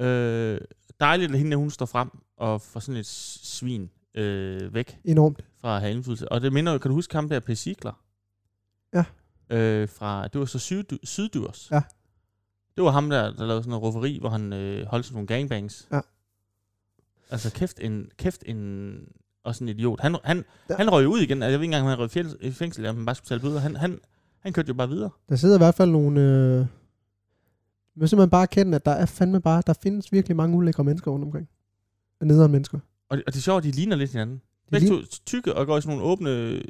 S2: Øh, dejligt, at hende, hun står frem og får sådan et s- svin øh, væk.
S1: Enormt.
S2: fra at have indflydelse. Og det minder jo, kan du huske ham der, Per Sigler?
S1: Ja.
S2: Øh, fra, det var så syd, Syddørs.
S1: Ja.
S2: Det var ham der, der lavede sådan noget rufferi, hvor han øh, holdt sådan nogle gangbangs.
S1: Ja.
S2: Altså kæft en, kæft en, også en idiot. Han, han,
S1: Ja.
S2: han røg jo ud igen, altså, jeg ved ikke engang, om han røg i fjels- i fængsel, eller om han bare skulle tale bøder. Han, han, han kørte jo bare videre.
S1: Der sidder i hvert fald nogle... Øh... Man simpelthen bare erkende, at der er fandme bare... Der findes virkelig mange ulækre mennesker rundt omkring. Og nederen mennesker.
S2: Og, det- og det er sjovt, at de ligner lidt hinanden.
S1: De
S2: Begge
S1: ligner-
S2: to tykke og går i sådan nogle åbne, øh,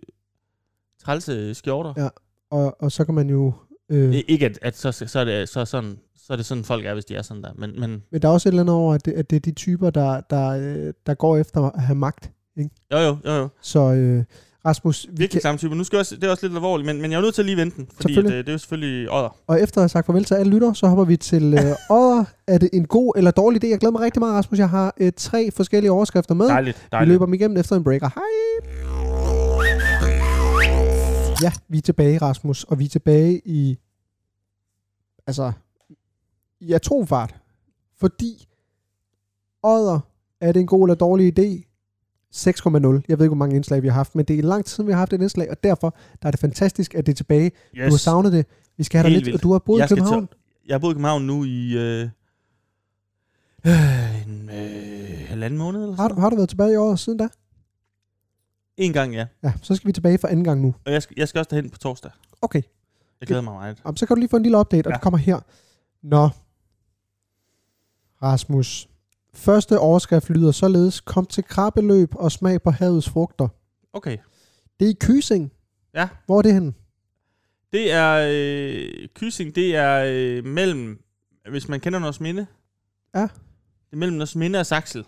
S2: trælse skjorter.
S1: Og, og så kan man jo... Øh...
S2: I- Ikke at, at så, så, er det, så, er sådan, så er det sådan, folk er, hvis de er sådan der. Men, men
S1: Men der er også et eller andet over, at det, at det er de typer, der, der, øh, der går efter at have magt.
S2: jo, jo, jo, jo.
S1: Så øh, Rasmus, vi
S2: Virkelig
S1: kan,
S2: samme type. Nu skal jeg også, det er også lidt alvorligt, men, men jeg er nødt til at lige vente den, fordi at,
S1: Selvfølgelig.
S2: øh, det er jo selvfølgelig odder.
S1: og efter at have sagt farvel til alle lytter, så hopper vi til øh, Odder. Er det en god eller dårlig idé? Jeg glæder mig rigtig meget, Rasmus. Jeg har øh, tre forskellige overskrifter med.
S2: Dejligt,
S1: Vi
S2: dejligt.
S1: løber dem igennem efter en breaker. Hej! Ja, vi er tilbage, Rasmus, og vi er tilbage i... Altså, i atomfart. Fordi, odder, er det en god eller dårlig idé? 6,0. Jeg ved ikke, hvor mange indslag vi har haft, men det er lang tid siden, vi har haft et indslag, og derfor der er det fantastisk, at det er tilbage. Yes. Du har savnet det. Vi skal have dig
S2: Helt
S1: lidt,
S2: vildt.
S1: og du har boet
S2: jeg
S1: i
S2: skal
S1: København.
S2: Til, jeg har boet i København nu i øh, øh, en øh, halvanden måned eller
S1: Har,
S2: sådan
S1: du- har du været tilbage i året siden da?
S2: En gang, ja.
S1: Ja, så skal vi tilbage for anden gang nu.
S2: Og jeg skal, jeg skal også derhen på torsdag.
S1: Okay.
S2: Jeg glæder mig meget.
S1: Jamen, så kan du lige få en lille update, og
S2: Ja.
S1: ja. det kommer her. Nå. Rasmus. Første overskrift lyder således, kom til krabbeløb og smag på havets frugter.
S2: Okay.
S1: Det er i Køsing.
S2: Ja.
S1: Hvor er det henne?
S2: Det er øh, Kysing, det er øh, mellem, hvis man kender Nors Minde.
S1: Ja.
S2: Det er mellem Nors Minde og Saxel.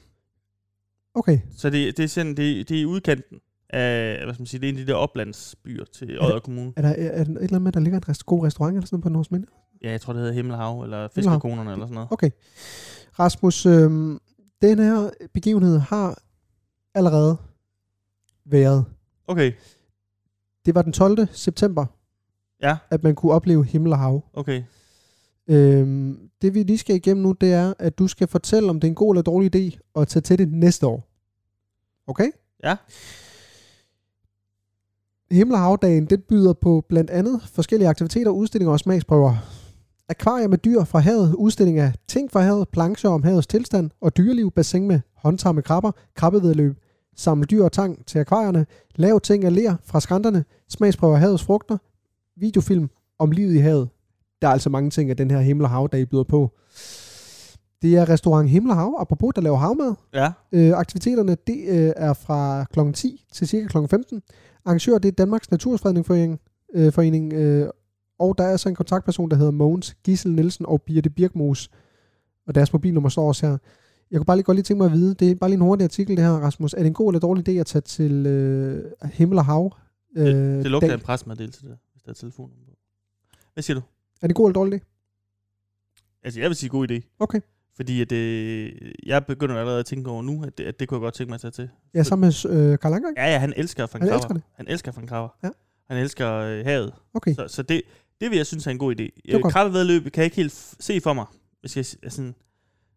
S1: Okay,
S2: Så det, det er sådan, det, det er i udkanten af, hvad skal man sige, det er en af de der oplandsbyer til Odder Kommune.
S1: er der, er, er der et eller andet med, at der ligger en rest, god restaurant eller sådan noget på Nordsminde?
S2: Ja, jeg tror, det hedder Himmelhav, eller Fiskerkonerne, eller sådan noget.
S1: Okay. Rasmus, øh, den her begivenhed har allerede været.
S2: Okay,
S1: Det var den 12. september,
S2: Ja.
S1: at man kunne opleve himmel og hav.
S2: okay.
S1: Øh, det vi lige skal igennem nu, det er, at du skal fortælle, om det er en god eller dårlig idé at tage til det næste år. Okay?
S2: Ja.
S1: Himmel og havdagen, det byder på blandt andet forskellige aktiviteter, udstillinger og smagsprøver. Akvarier med dyr fra havet, udstilling af ting fra havet, plancher om havets tilstand og dyreliv, bassin med håndtamme krabber, krabbevedløb, samle dyr og tang til akvarierne, lav ting af ler fra skrænterne, smagsprøver af havets frugter, videofilm om livet i havet. Der er altså mange ting, at den her himmel og havdag byder på. Det er restaurant Himmel og Hav, apropos, der laver havmad.
S2: Ja,
S1: Øh, aktiviteterne det øh, er fra kl. 10 til cirka kl. 15. Arrangør det er Danmarks Naturfredningsforening, øh, forening, øh, og der er så en kontaktperson, der hedder Mogens Gissel Nielsen og Birte Birkmos, og deres mobilnummer står også her. Jeg kunne bare lige godt lige tænke mig at vide, det er bare lige en hurtig artikel det her, Rasmus. Er det en god eller dårlig idé at tage til øh, Himmel og Hav? Øh,
S2: det lugter af
S1: dag?
S2: en presmeddelelse, der, hvis der er telefonnummer. på. Hvad siger du?
S1: Er det en god eller dårlig idé?
S2: Altså, jeg vil sige god idé.
S1: Okay.
S2: Fordi at, øh, jeg begynder allerede at tænke over nu, at det, at det kunne jeg godt tænke mig at tage til.
S1: Ja, sammen med øh, Karl Anker, ikke?
S2: Ja, ja, han elsker Frank
S1: Han
S2: Krabber.
S1: elsker det.
S2: Han elsker Frank Krabber.
S1: Ja.
S2: Han elsker øh, havet.
S1: Okay.
S2: Så, så det, det vil jeg synes er en god idé.
S1: var
S2: Øh,
S1: godt.
S2: Krabbevedløb kan jeg ikke helt f- se for mig. Hvis jeg, s- er sådan,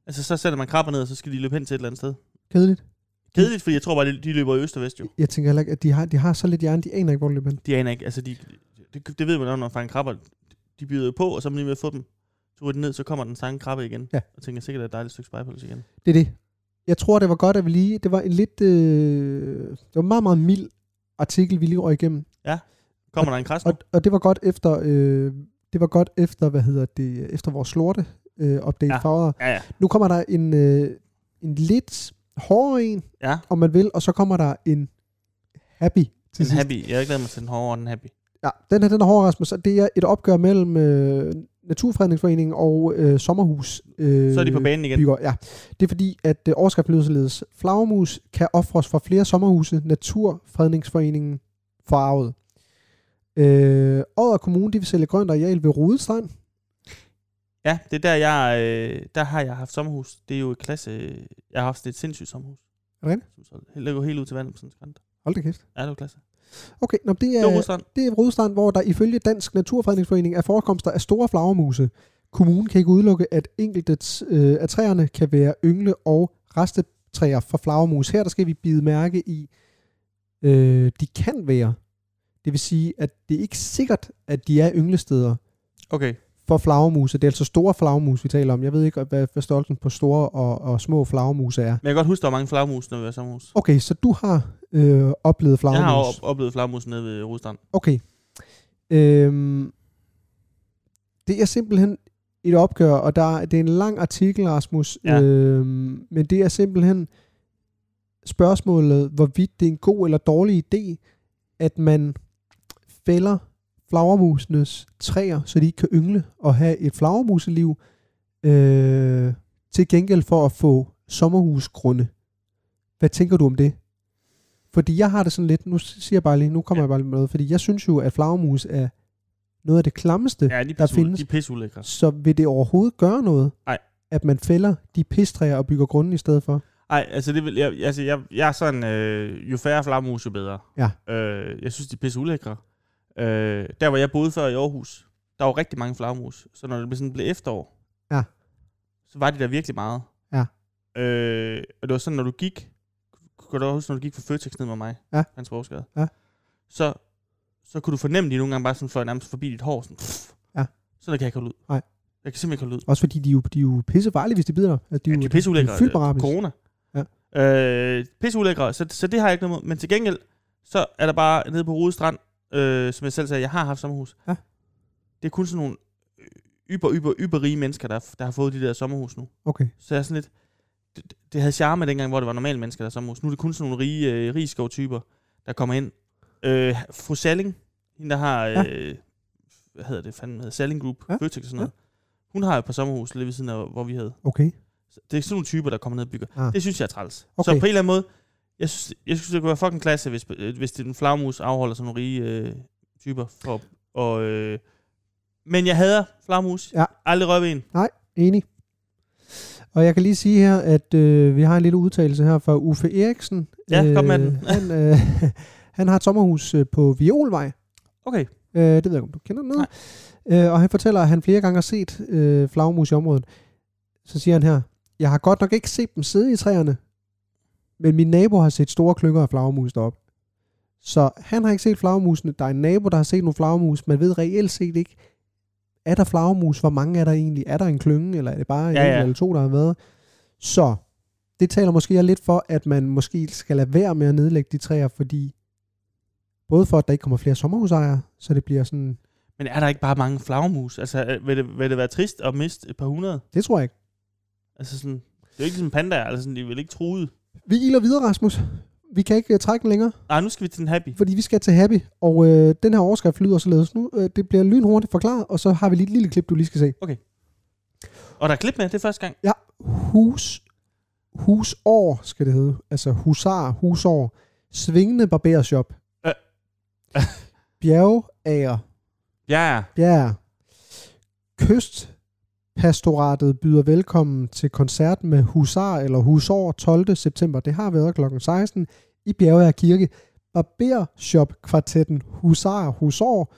S2: altså, så sætter man krabber ned, og så skal de løbe hen til et eller andet sted.
S1: Mm. Kedeligt.
S2: Kedeligt, fordi jeg tror bare, de, de løber i øst og vest jo.
S1: Jeg tænker heller ikke, at de har, de har så lidt hjerne, de aner ikke, hvor de løber hen.
S2: De aner ikke, altså de, det, det ved man jo, når Frank Krabber, de byder jo på, og så er man lige ved at få dem. Så ryger den ned, så kommer den samme krabbe igen.
S1: Ja.
S2: Og tænker sikkert, at det er et dejligt stykke spejpølse igen.
S1: Det er det. Jeg tror, det var godt, at vi lige... Det var en lidt... Øh, det var en meget, meget mild artikel, vi lige røg igennem.
S2: Kommer der en kras nu?
S1: Og, og det var godt efter... Øh, det var godt efter, hvad hedder det... Efter vores slorte øh, update
S2: Ja.
S1: ja. farver.
S2: Ja, ja.
S1: Nu kommer der en, øh, en lidt hårdere en,
S2: ja.
S1: om man vil, og så kommer der en happy til
S2: Den
S1: sidst.
S2: happy. Jeg har glædet mig til den hårde og den happy.
S1: Ja, den her, den er hård, Rasmus. og Det er et opgør mellem øh, Naturfredningsforeningen og øh, Sommerhus. Øh,
S2: Så er de på banen igen.
S1: bygger. Ja. Det er fordi, at øh, overskriften lyder således. Flagermus kan ofres fra flere sommerhuse, Naturfredningsforeningen forarvet. Øh, Odder Kommune, de vil sælge grønt areal ved Rudestrand.
S2: Ja, det er der, jeg, øh, der har jeg haft sommerhus. Det er jo et klasse... øh, Jeg har haft sådan et sindssygt sommerhus.
S1: Er det rigtigt? Øh.
S2: Som så ligger helt ud til vandet på sådan en skrænt.
S1: Hold da kæft.
S2: Ja, det var klasse.
S1: Okay, nå, men det
S2: Det var
S1: er,
S2: Rusland.
S1: det er Rudestrand, hvor der ifølge Dansk Naturfredningsforening er forekomster af store flagermuse. Kommunen kan ikke udelukke, at enkelte øh, af træerne kan være yngle- og restetræer for flagermus. Her der skal vi bide mærke i, øh, de kan være. Det vil sige, at det er ikke sikkert, at de er ynglesteder.
S2: Okay.
S1: for flagermuse. Det er altså store flagermus, vi taler om. Jeg ved ikke, hvad, hvad størrelsen på store og, og små flagermuse er.
S2: Men jeg kan godt huske, der var mange flagmus, når vi var i sommerhus.
S1: Okay, så du har øh, oplevet
S2: Jeg har
S1: flagermus.
S2: op- oplevet flagmus nede ved Rusland.
S1: Okay. Øhm, det er simpelthen et opgør, og der, det er en lang artikel, Rasmus.
S2: Ja.
S1: Øhm, men det er simpelthen spørgsmålet, hvorvidt det er en god eller dårlig idé, at man fælder flagermusenes træer, så de ikke kan yngle og have et flagermuseliv, øh, til gengæld for at få sommerhusgrunde. Hvad tænker du om det? Fordi jeg har det sådan lidt, nu siger jeg bare lige, nu kommer ja.
S2: Ja.
S1: jeg bare lige med noget, fordi jeg synes jo, at flagermus er noget af det klammeste.
S2: Ja, de er
S1: Der
S2: pisse,
S1: findes-
S2: de er pisse ulækre.
S1: Så vil det overhovedet gøre noget,
S2: Nej.
S1: at man fælder de pistræer og bygger grunden i stedet for?
S2: Ej, altså, det vil, jeg, altså jeg, jeg er sådan, øh, jo færre flagmus, jo bedre.
S1: Ja.
S2: Øh, jeg synes, de er pisse ulækre. Øh, der, hvor jeg boede før i Aarhus, der var jo rigtig mange flagmus. Så når det blev sådan blev efterår,
S1: Ja.
S2: så var de der virkelig meget.
S1: Ja.
S2: Øh, og det var sådan, når du gik, kunne du også huske, når du gik fra Føtex ned med mig,
S1: Ja.
S2: hans borgskade,
S1: Ja.
S2: så, så kunne du fornemme, at de nogle gange bare sådan fløj nærmest forbi dit hår, sådan, pff,
S1: Ja.
S2: sådan der kan jeg ikke holde ud.
S1: Nej.
S2: Jeg kan simpelthen ikke holde ud.
S1: Også fordi de er jo, de er jo pissefarlige, hvis de bider dig. Altså, de,
S2: Ja,
S1: jo-
S2: de er pisseulækre.
S1: de er fyldt med rabies.
S2: Corona. Ja. Øh, pisseulækre, så, så det har jeg ikke noget mod. Men til gengæld, så er der bare nede på Rode Strand, øh, som jeg selv sagde, jeg har haft sommerhus.
S1: Ja.
S2: Det er kun sådan nogle yber, yber, yber rige mennesker, der, der har fået de der sommerhus nu.
S1: Okay.
S2: Så jeg er sådan lidt... Det, det havde charme dengang, hvor det var normale mennesker, der havde sommerhus. Nu er det kun sådan nogle rige, øh, rigskovtyper, der kommer ind. Øh, fru Salling, hende der har...
S1: Ja.
S2: Øh, hvad hedder det, fanden hedder, Selling Group,
S1: Ja.
S2: ja. Føtex og sådan noget. Hun har jo et par sommerhus lige ved siden af, hvor vi havde.
S1: Okay.
S2: Så Det er sådan nogle typer, der kommer ned og bygger.
S1: Ah.
S2: Ah. Det synes jeg er træls.
S1: Okay.
S2: Okay. Så på en eller anden måde, jeg synes, jeg synes det kunne være fucking klasse, hvis, øh, hvis det er en flagmus afholder sådan nogle rige øh, typer. For, og, øh, men jeg hader flagmus.
S1: Ja.
S2: Aldrig rørt ved en.
S1: Enig. Og jeg kan lige sige her, at øh, vi har en lille udtalelse her fra Uffe Eriksen.
S2: Ja, kom med den.
S1: han, øh, han har et sommerhus øh, på Violvej.
S2: Okay.
S1: Øh, det ved jeg ikke, om du kender den øh, Og han fortæller, at han flere gange har set øh, flagmus i området. Så siger han her, jeg har godt nok ikke set dem sidde i træerne, men min nabo har set store klynger af flagmus deroppe. Så han har ikke set flagmusene. Der er en nabo, der har set nogle flagmus. Man ved reelt set ikke, er der flagmus? Hvor mange er der egentlig? Er der en klynge, eller er det bare ja, en
S2: Ja, ja.
S1: eller to, der har været? Så det taler måske lidt for, at man måske skal lade være med at nedlægge de træer, fordi både for, at der ikke kommer flere sommerhusejere, så det bliver sådan
S2: Men er der ikke bare mange flagmus? Altså, øh, vil det, vil det være trist at miste et par hundrede?
S1: Det tror jeg ikke.
S2: Altså sådan, det er jo ikke ligesom pandaer, eller sådan, de vil ikke truet.
S1: Vi iler videre, Rasmus. Vi kan ikke uh, trække den længere,
S2: Ah, nu skal vi til den happy.
S1: fordi vi skal til Happy. Og uh, den her overskrift lyder således nu. Uh, det bliver lynhurtigt forklaret, og så har vi lige et lille klip, du lige skal se.
S2: Og der er klip med, det er første gang.
S1: Hus, husår skal det hedde. Altså husar, husår. Svingende barbershop.
S2: Øh.
S1: Bjergager.
S2: Ja, ja.
S1: Ja. Kystpastoratet byder velkommen til koncert med Husar eller Husår 12. september. Det har været kl. 16 i Bjergager Kirke. Barbershop-kvartetten Husar Husår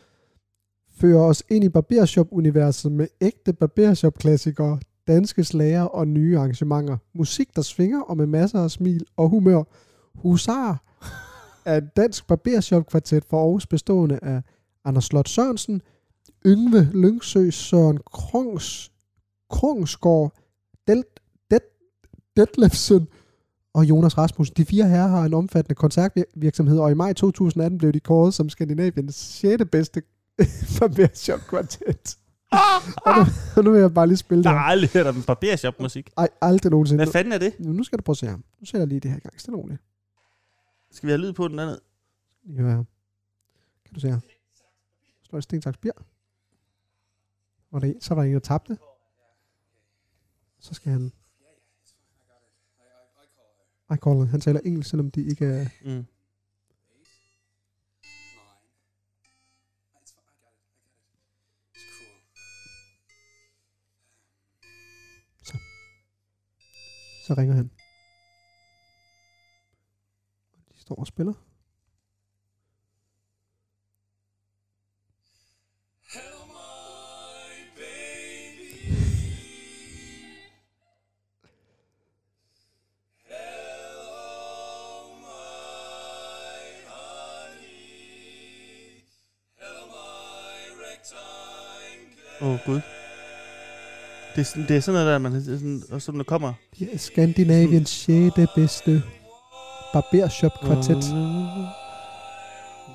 S1: fører os ind i Barbershop-universet med ægte Barbershop-klassikere, danske slager og nye arrangementer. Musik, der svinger og med masser af smil og humør. Husar er et dansk Barbershop-kvartet for Aarhus bestående af Anders Slot Sørensen, Yngve Lyngsø, Søren Krungs, Krungsgaard, Del, Det, Detlefsen og Jonas Rasmussen. De fire herrer har en omfattende koncertvirksomhed, og i maj 2018 blev de kåret som Skandinaviens 6. bedste barbershop kvartet. og, nu, og nu vil jeg bare lige spille
S2: Der
S1: det
S2: har
S1: her.
S2: aldrig hørt om barbershop-musik.
S1: Ej, aldrig nogensinde.
S2: Hvad fanden er det?
S1: Nu- Nu skal du prøve at se ham. Nu sætter jeg lige det her i gang. Stille og roligt.
S2: Skal vi have lyd på den dernede?
S1: Lige høre her. Kan du se her? Står et stensaks bier. Og det, så var der en, der tabte. Så skal han... I call it. Han taler engelsk, selvom de ikke er...
S2: Mm.
S1: Så ringer han. De står og spiller.
S2: Åh, oh, Gud. Det er, sådan, det er sådan noget der, man sådan, og sådan, der kommer.
S1: De er Skandinaviens 6. bedste barbershop kvartet.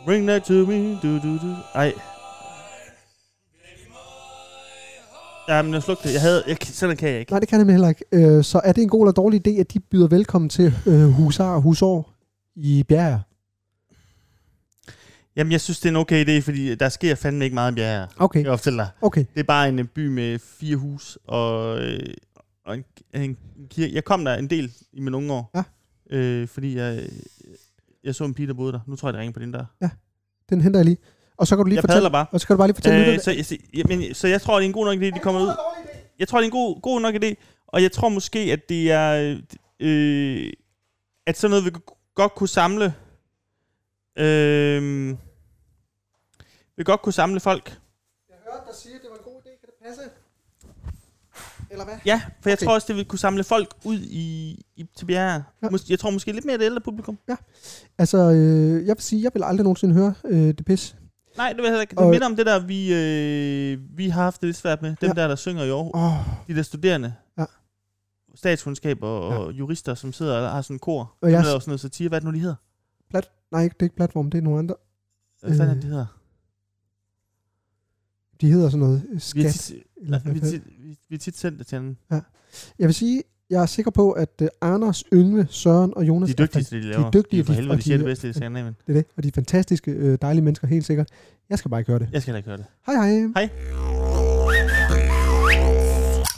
S2: Bring that to me. Du, du, du. Ej. Jamen, jeg slugte det. Jeg havde, jeg, sådan kan jeg ikke.
S1: Nej, det kan han heller ikke. Øh, så er det en god eller dårlig idé, at de byder velkommen til øh, Husar og Husår i Bjerg?
S2: Jamen, jeg synes, det er en okay idé, fordi der sker fandme ikke meget om jer.
S1: Okay,
S2: Jeg opstiller dig.
S1: okay.
S2: Det er bare en øh, by med fire hus og, øh, og en, en kirke. Jeg kom der en del i mine unge år.
S1: Ja.
S2: Øh, fordi jeg, øh, jeg så en pige, der boede der. Nu tror jeg, det ringer på den der.
S1: Den henter jeg lige. Og så kan du lige
S2: Jeg
S1: fortælle...
S2: padler bare.
S1: Og så kan du bare lige fortælle øh,
S2: Øh, så, jeg, så, jamen, så jeg tror, det er en god nok idé, de kommer ud. Jeg tror, det er en god, god nok idé. Og jeg tror måske, at det er... Øh, at sådan noget vil godt kunne samle... Øh, vil godt kunne samle folk.
S1: Jeg hørte dig sige, at det var en god idé. Kan det passe? Eller hvad?
S2: Ja, for jeg
S1: Okay.
S2: okay. tror også, det vil kunne samle folk ud i, i til bjerre.
S1: Ja.
S2: Ja. Jeg tror måske lidt mere det ældre publikum.
S1: Altså, øh, jeg vil sige, jeg vil aldrig nogensinde høre øh, det pis.
S2: Nej, det vil jeg heller ikke.
S1: Og-
S2: Det minder om det der, vi, øh, vi har haft det lidt svært med. Dem
S1: Ja.
S2: ja. der, der synger i Aarhus.
S1: Oh,
S2: de der studerende,
S1: Ja.
S2: ja. statskundskab og, og jurister, som sidder og har sådan en kor,
S1: Og
S2: og
S1: jeg-
S2: jeg laver sådan noget satire. Hvad er det nu, de hedder?
S1: plat... Nej, ikke- det er ikke platform, det er nogle andre.
S2: Hvad fanden er det,
S1: Øh,
S2: de hedder?
S1: De hedder sådan noget øh,
S2: Vi er
S1: skat.
S2: tit,
S1: Øh,
S2: altså,
S1: eller hvad
S2: vi, er
S1: fanden.
S2: tit, vi, vi er tit sendt det til hinanden.
S1: Jeg vil sige, jeg er sikker på, at øh, Anders, Yngve, Søren og Jonas
S2: De er dygtige til det, de laver.
S1: dygtigste,
S2: for
S1: de-
S2: helvede,
S1: og
S2: de siger
S1: de-
S2: det bedste i Skandinavien.
S1: Det er det, og de er fantastiske, øh, dejlige mennesker, helt sikkert. Jeg skal bare ikke høre det.
S2: Jeg skal heller ikke høre det.
S1: Hej hej.
S2: Hej.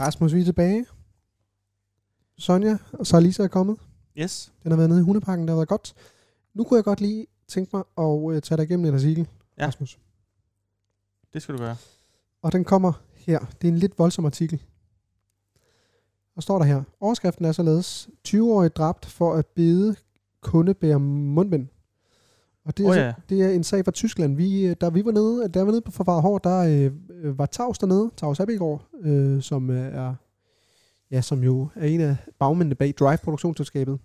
S1: Rasmus, vi er tilbage. Sonja og så er Lisa er kommet.
S2: Yes.
S1: Den har været nede i hundeparken, det har været godt. Nu kunne jeg godt lige tænke mig at øh, tage dig igennem en artikel,
S2: Ja.
S1: Rasmus.
S2: Det skal du gøre.
S1: Og den kommer her. Det er en lidt voldsom artikel. Og står der her. Overskriften er således. 20-årig dræbt for at bede kunde bære mundbind. Og det er,
S2: Åh
S1: oh, ja.
S2: ja.
S1: så, det er en sag fra Tyskland. Vi, øh, da vi var nede, da jeg var nede på Forvaret Hår, der øh, var Tavs dernede, Tavs Abbegaard, øh, som øh, er ja, som jo er en af bagmændene bag Drive Produktionsselskabet.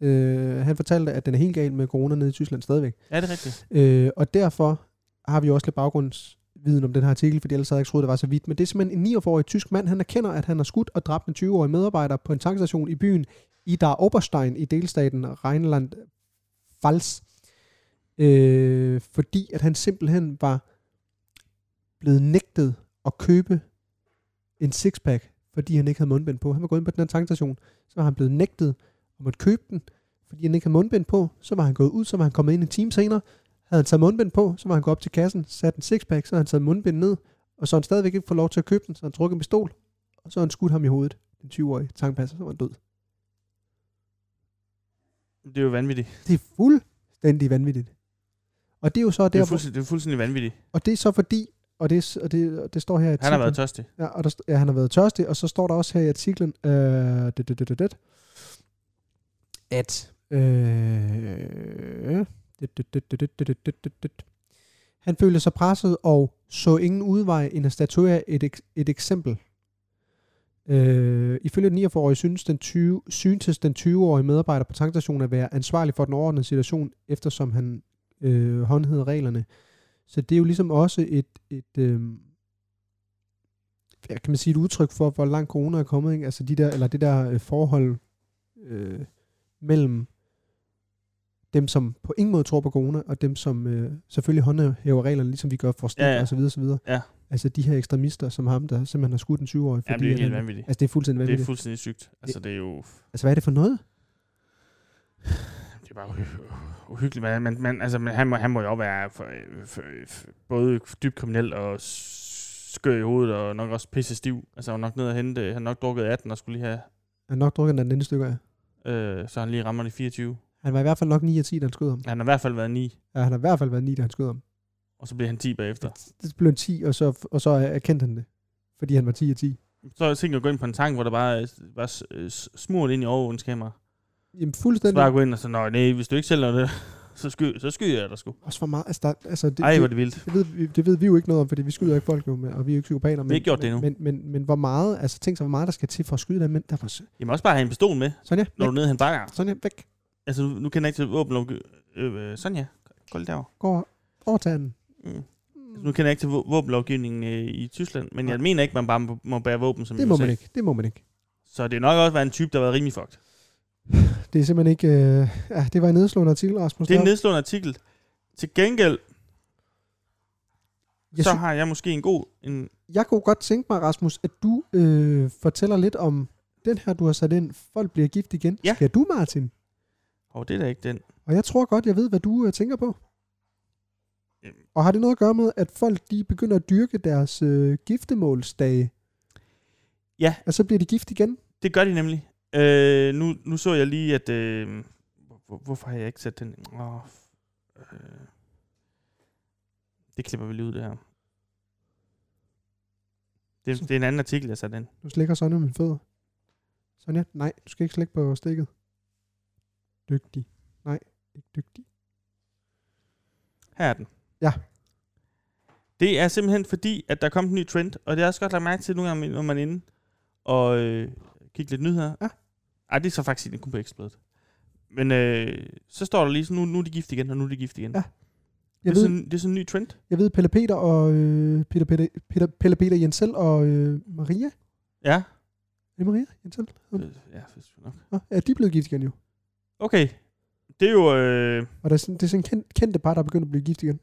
S1: Øh, han fortalte, at den er helt gal med corona nede i Tyskland stadigvæk.
S2: Er det rigtigt?
S1: Øh, og derfor har vi også lidt baggrundsviden om den her artikel, fordi ellers havde jeg ikke troet, det var så vidt. Men det er simpelthen en 49-årig tysk mand, han erkender, at han har skudt og dræbt en 20-årig medarbejder på en tankstation i byen Idar Oberstein i delstaten Rheinland-Pfalz, øh, fordi at han simpelthen var blevet nægtet at købe en sixpack, fordi han ikke havde mundbind på. Han var gået ind på den her tankstation, så var han blevet nægtet at måtte købe den, fordi han ikke havde mundbind på. Så var han gået ud, så var han kommet ind en time senere, havde han taget mundbind på, så var han gået op til kassen, sat en sixpack, så havde han taget mundbind ned, og så har han stadigvæk ikke fået lov til at købe den, så har han trukket en pistol, og så har han skudt ham i hovedet, den 20-årige tankpasser, så var han død.
S2: Det er jo vanvittigt.
S1: Det er fuldstændig vanvittigt. Og det er jo så
S2: Det
S1: der,
S2: er,
S1: hvor,
S2: fuldstændig, det er fuldstændig vanvittigt.
S1: og det er så fordi, og det, er s- og det, og det står her i
S2: Han har
S1: artiklen-
S2: været tørstig.
S1: Ja, og der, st- ja, han har været tørstig, og så står der også her i artiklen, øh, det, det, det, det, det, at øh, det, det, det, det, det, det, det, det, det, det. han følte sig presset og så ingen udvej end at statuere et, ek- et eksempel. Øh, ifølge den 49-årige synes den, 20, syntes den 20-årige medarbejder på tankstationen at være ansvarlig for den overordnede situation, eftersom han øh, håndhedede reglerne. Så det er jo ligesom også et, et øh, ja, kan man sige, et udtryk for, hvor langt corona er kommet, ikke? Altså de der, eller det der øh, forhold øh, mellem dem, som på ingen måde tror på corona, og dem, som øh, selvfølgelig håndhæver reglerne, ligesom vi gør for stik
S2: Ja,
S1: ja,
S2: ja.
S1: ja. og så videre, så videre.
S2: Ja.
S1: Altså de her ekstremister, som ham, der simpelthen har skudt en 20-årig.
S2: Jamen, det er
S1: at
S2: jo helt
S1: han-
S2: vanvittigt.
S1: Altså det er fuldstændig
S2: Det er
S1: vanvittigt.
S2: fuldstændig sygt. Altså, det er jo...
S1: altså hvad er det for noget?
S2: Det er bare uhy- uhyggeligt. hvad- Men, men, altså, men han, må, han må jo også være for, for, for, både dybt kriminel og skør i hovedet, og nok også pisse stiv. Altså, han var nok ned og hente... Han har nok drukket 18 og skulle lige have...
S1: Han nok drukket den anden stykker af.
S2: Øh, så han lige rammer de 24.
S1: Han var i hvert fald nok 9 af 10, da han skød ham.
S2: Han har i hvert fald været 9,
S1: Ja, han har i hvert fald været 9, da han skød ham.
S2: og så bliver han 10 bagefter.
S1: Det blev 10, og så, og så erkendte han det. Fordi han var 10 af 10.
S2: Så er jeg tænkt at gå ind på en tank, hvor der bare øh, var s- øh, s- smurt ind i overvågningskamera.
S1: Jamen
S2: Så
S1: fuldstændig.
S2: bare gå ind og så, nej, nej, hvis du ikke sælger det, så sky, så skyder jeg dig sgu.
S1: Også for meget. Altså, der, altså det,
S2: Ej,
S1: det-
S2: hvor er det vildt.
S1: Det ved, vi- det ved vi jo ikke noget om, fordi vi skyder ikke folk jo, med, og vi er jo ikke psykopater. Men,
S2: ikke gjort det endnu.
S1: Men, men, men, men hvor meget, altså tænk så, hvor meget der skal til for at skyde den, men der var s-
S2: Jeg må også bare have en pistol med,
S1: Sonja,
S2: når
S1: væk,
S2: du er nede hen bakker.
S1: Sonja, væk,
S2: Altså, nu nu kender jeg ikke til våbenlovgivning. Øh, øh, Sonja, gå lidt derovre.
S1: går overtager den.
S2: Mm. Altså, nu kender jeg ikke til vå- våbenlovgivningen øh, i Tyskland, men jeg mener ikke, man bare må- må bære våben som i
S1: Det må
S2: USA.
S1: man ikke, det må man ikke.
S2: Så det er nok også været en type, der har været rimelig fucked.
S1: Det er simpelthen ikke, øh, ja, det var en nedslående artikel, Rasmus.
S2: Det er en
S1: Der-
S2: nedslående artikel. Til gengæld,
S1: jeg,
S2: så
S1: sy-
S2: har jeg måske en god... En,
S1: jeg kunne godt tænke mig, Rasmus, at du øh, fortæller lidt om den her, du har sat ind. Folk bliver gift igen.
S2: Ja.
S1: Skal du, Martin?
S2: åh, det er da ikke den.
S1: Og jeg tror godt, jeg ved, hvad du øh, tænker på.
S2: Jamen.
S1: Og har det noget at gøre med, at folk de begynder at dyrke deres øh, giftemålsdage?
S2: Ja.
S1: Og så bliver de gift igen?
S2: Det gør de nemlig. Øh, nu, nu så jeg lige, at... Øh, hvor, hvorfor har jeg ikke sat den? Åh, øh, det klipper vi lige ud, det her. Det, det er en anden artikel, jeg satte ind.
S1: Nu slikker Sonja min fødder. Sonja, nej, du skal ikke slikke på stikket. Dygtig. Nej, ikke dygtig.
S2: Her er den.
S1: Ja.
S2: Det er simpelthen fordi, at der kom en ny trend, og det er også godt lagt mærke til nogle gange, når man er inde og øh, kigger lidt nyheder.
S1: Ja.
S2: Ej, det er så faktisk ikke kun på eksplodet. Men øh, så står der lige sådan, nu, nu er de gift igen, og nu er de gift igen.
S1: Ja.
S2: Jeg
S1: Jeg
S2: det, er
S1: ved,
S2: sådan, det er sådan en ny trend.
S1: jeg ved Pelle Peter og øh, Peter, Peter, Peter, Pelle Peter Jensel og øh, Maria.
S2: Ja.
S1: Er det Maria Jensel?
S2: Øh, Ja, fisk nok.
S1: Nå, ja, de er blevet gift igen jo.
S2: Okay. Det er jo... Øh,
S1: Og der er sådan, det er sådan kendt, kendte par, der er begyndt at blive gift igen.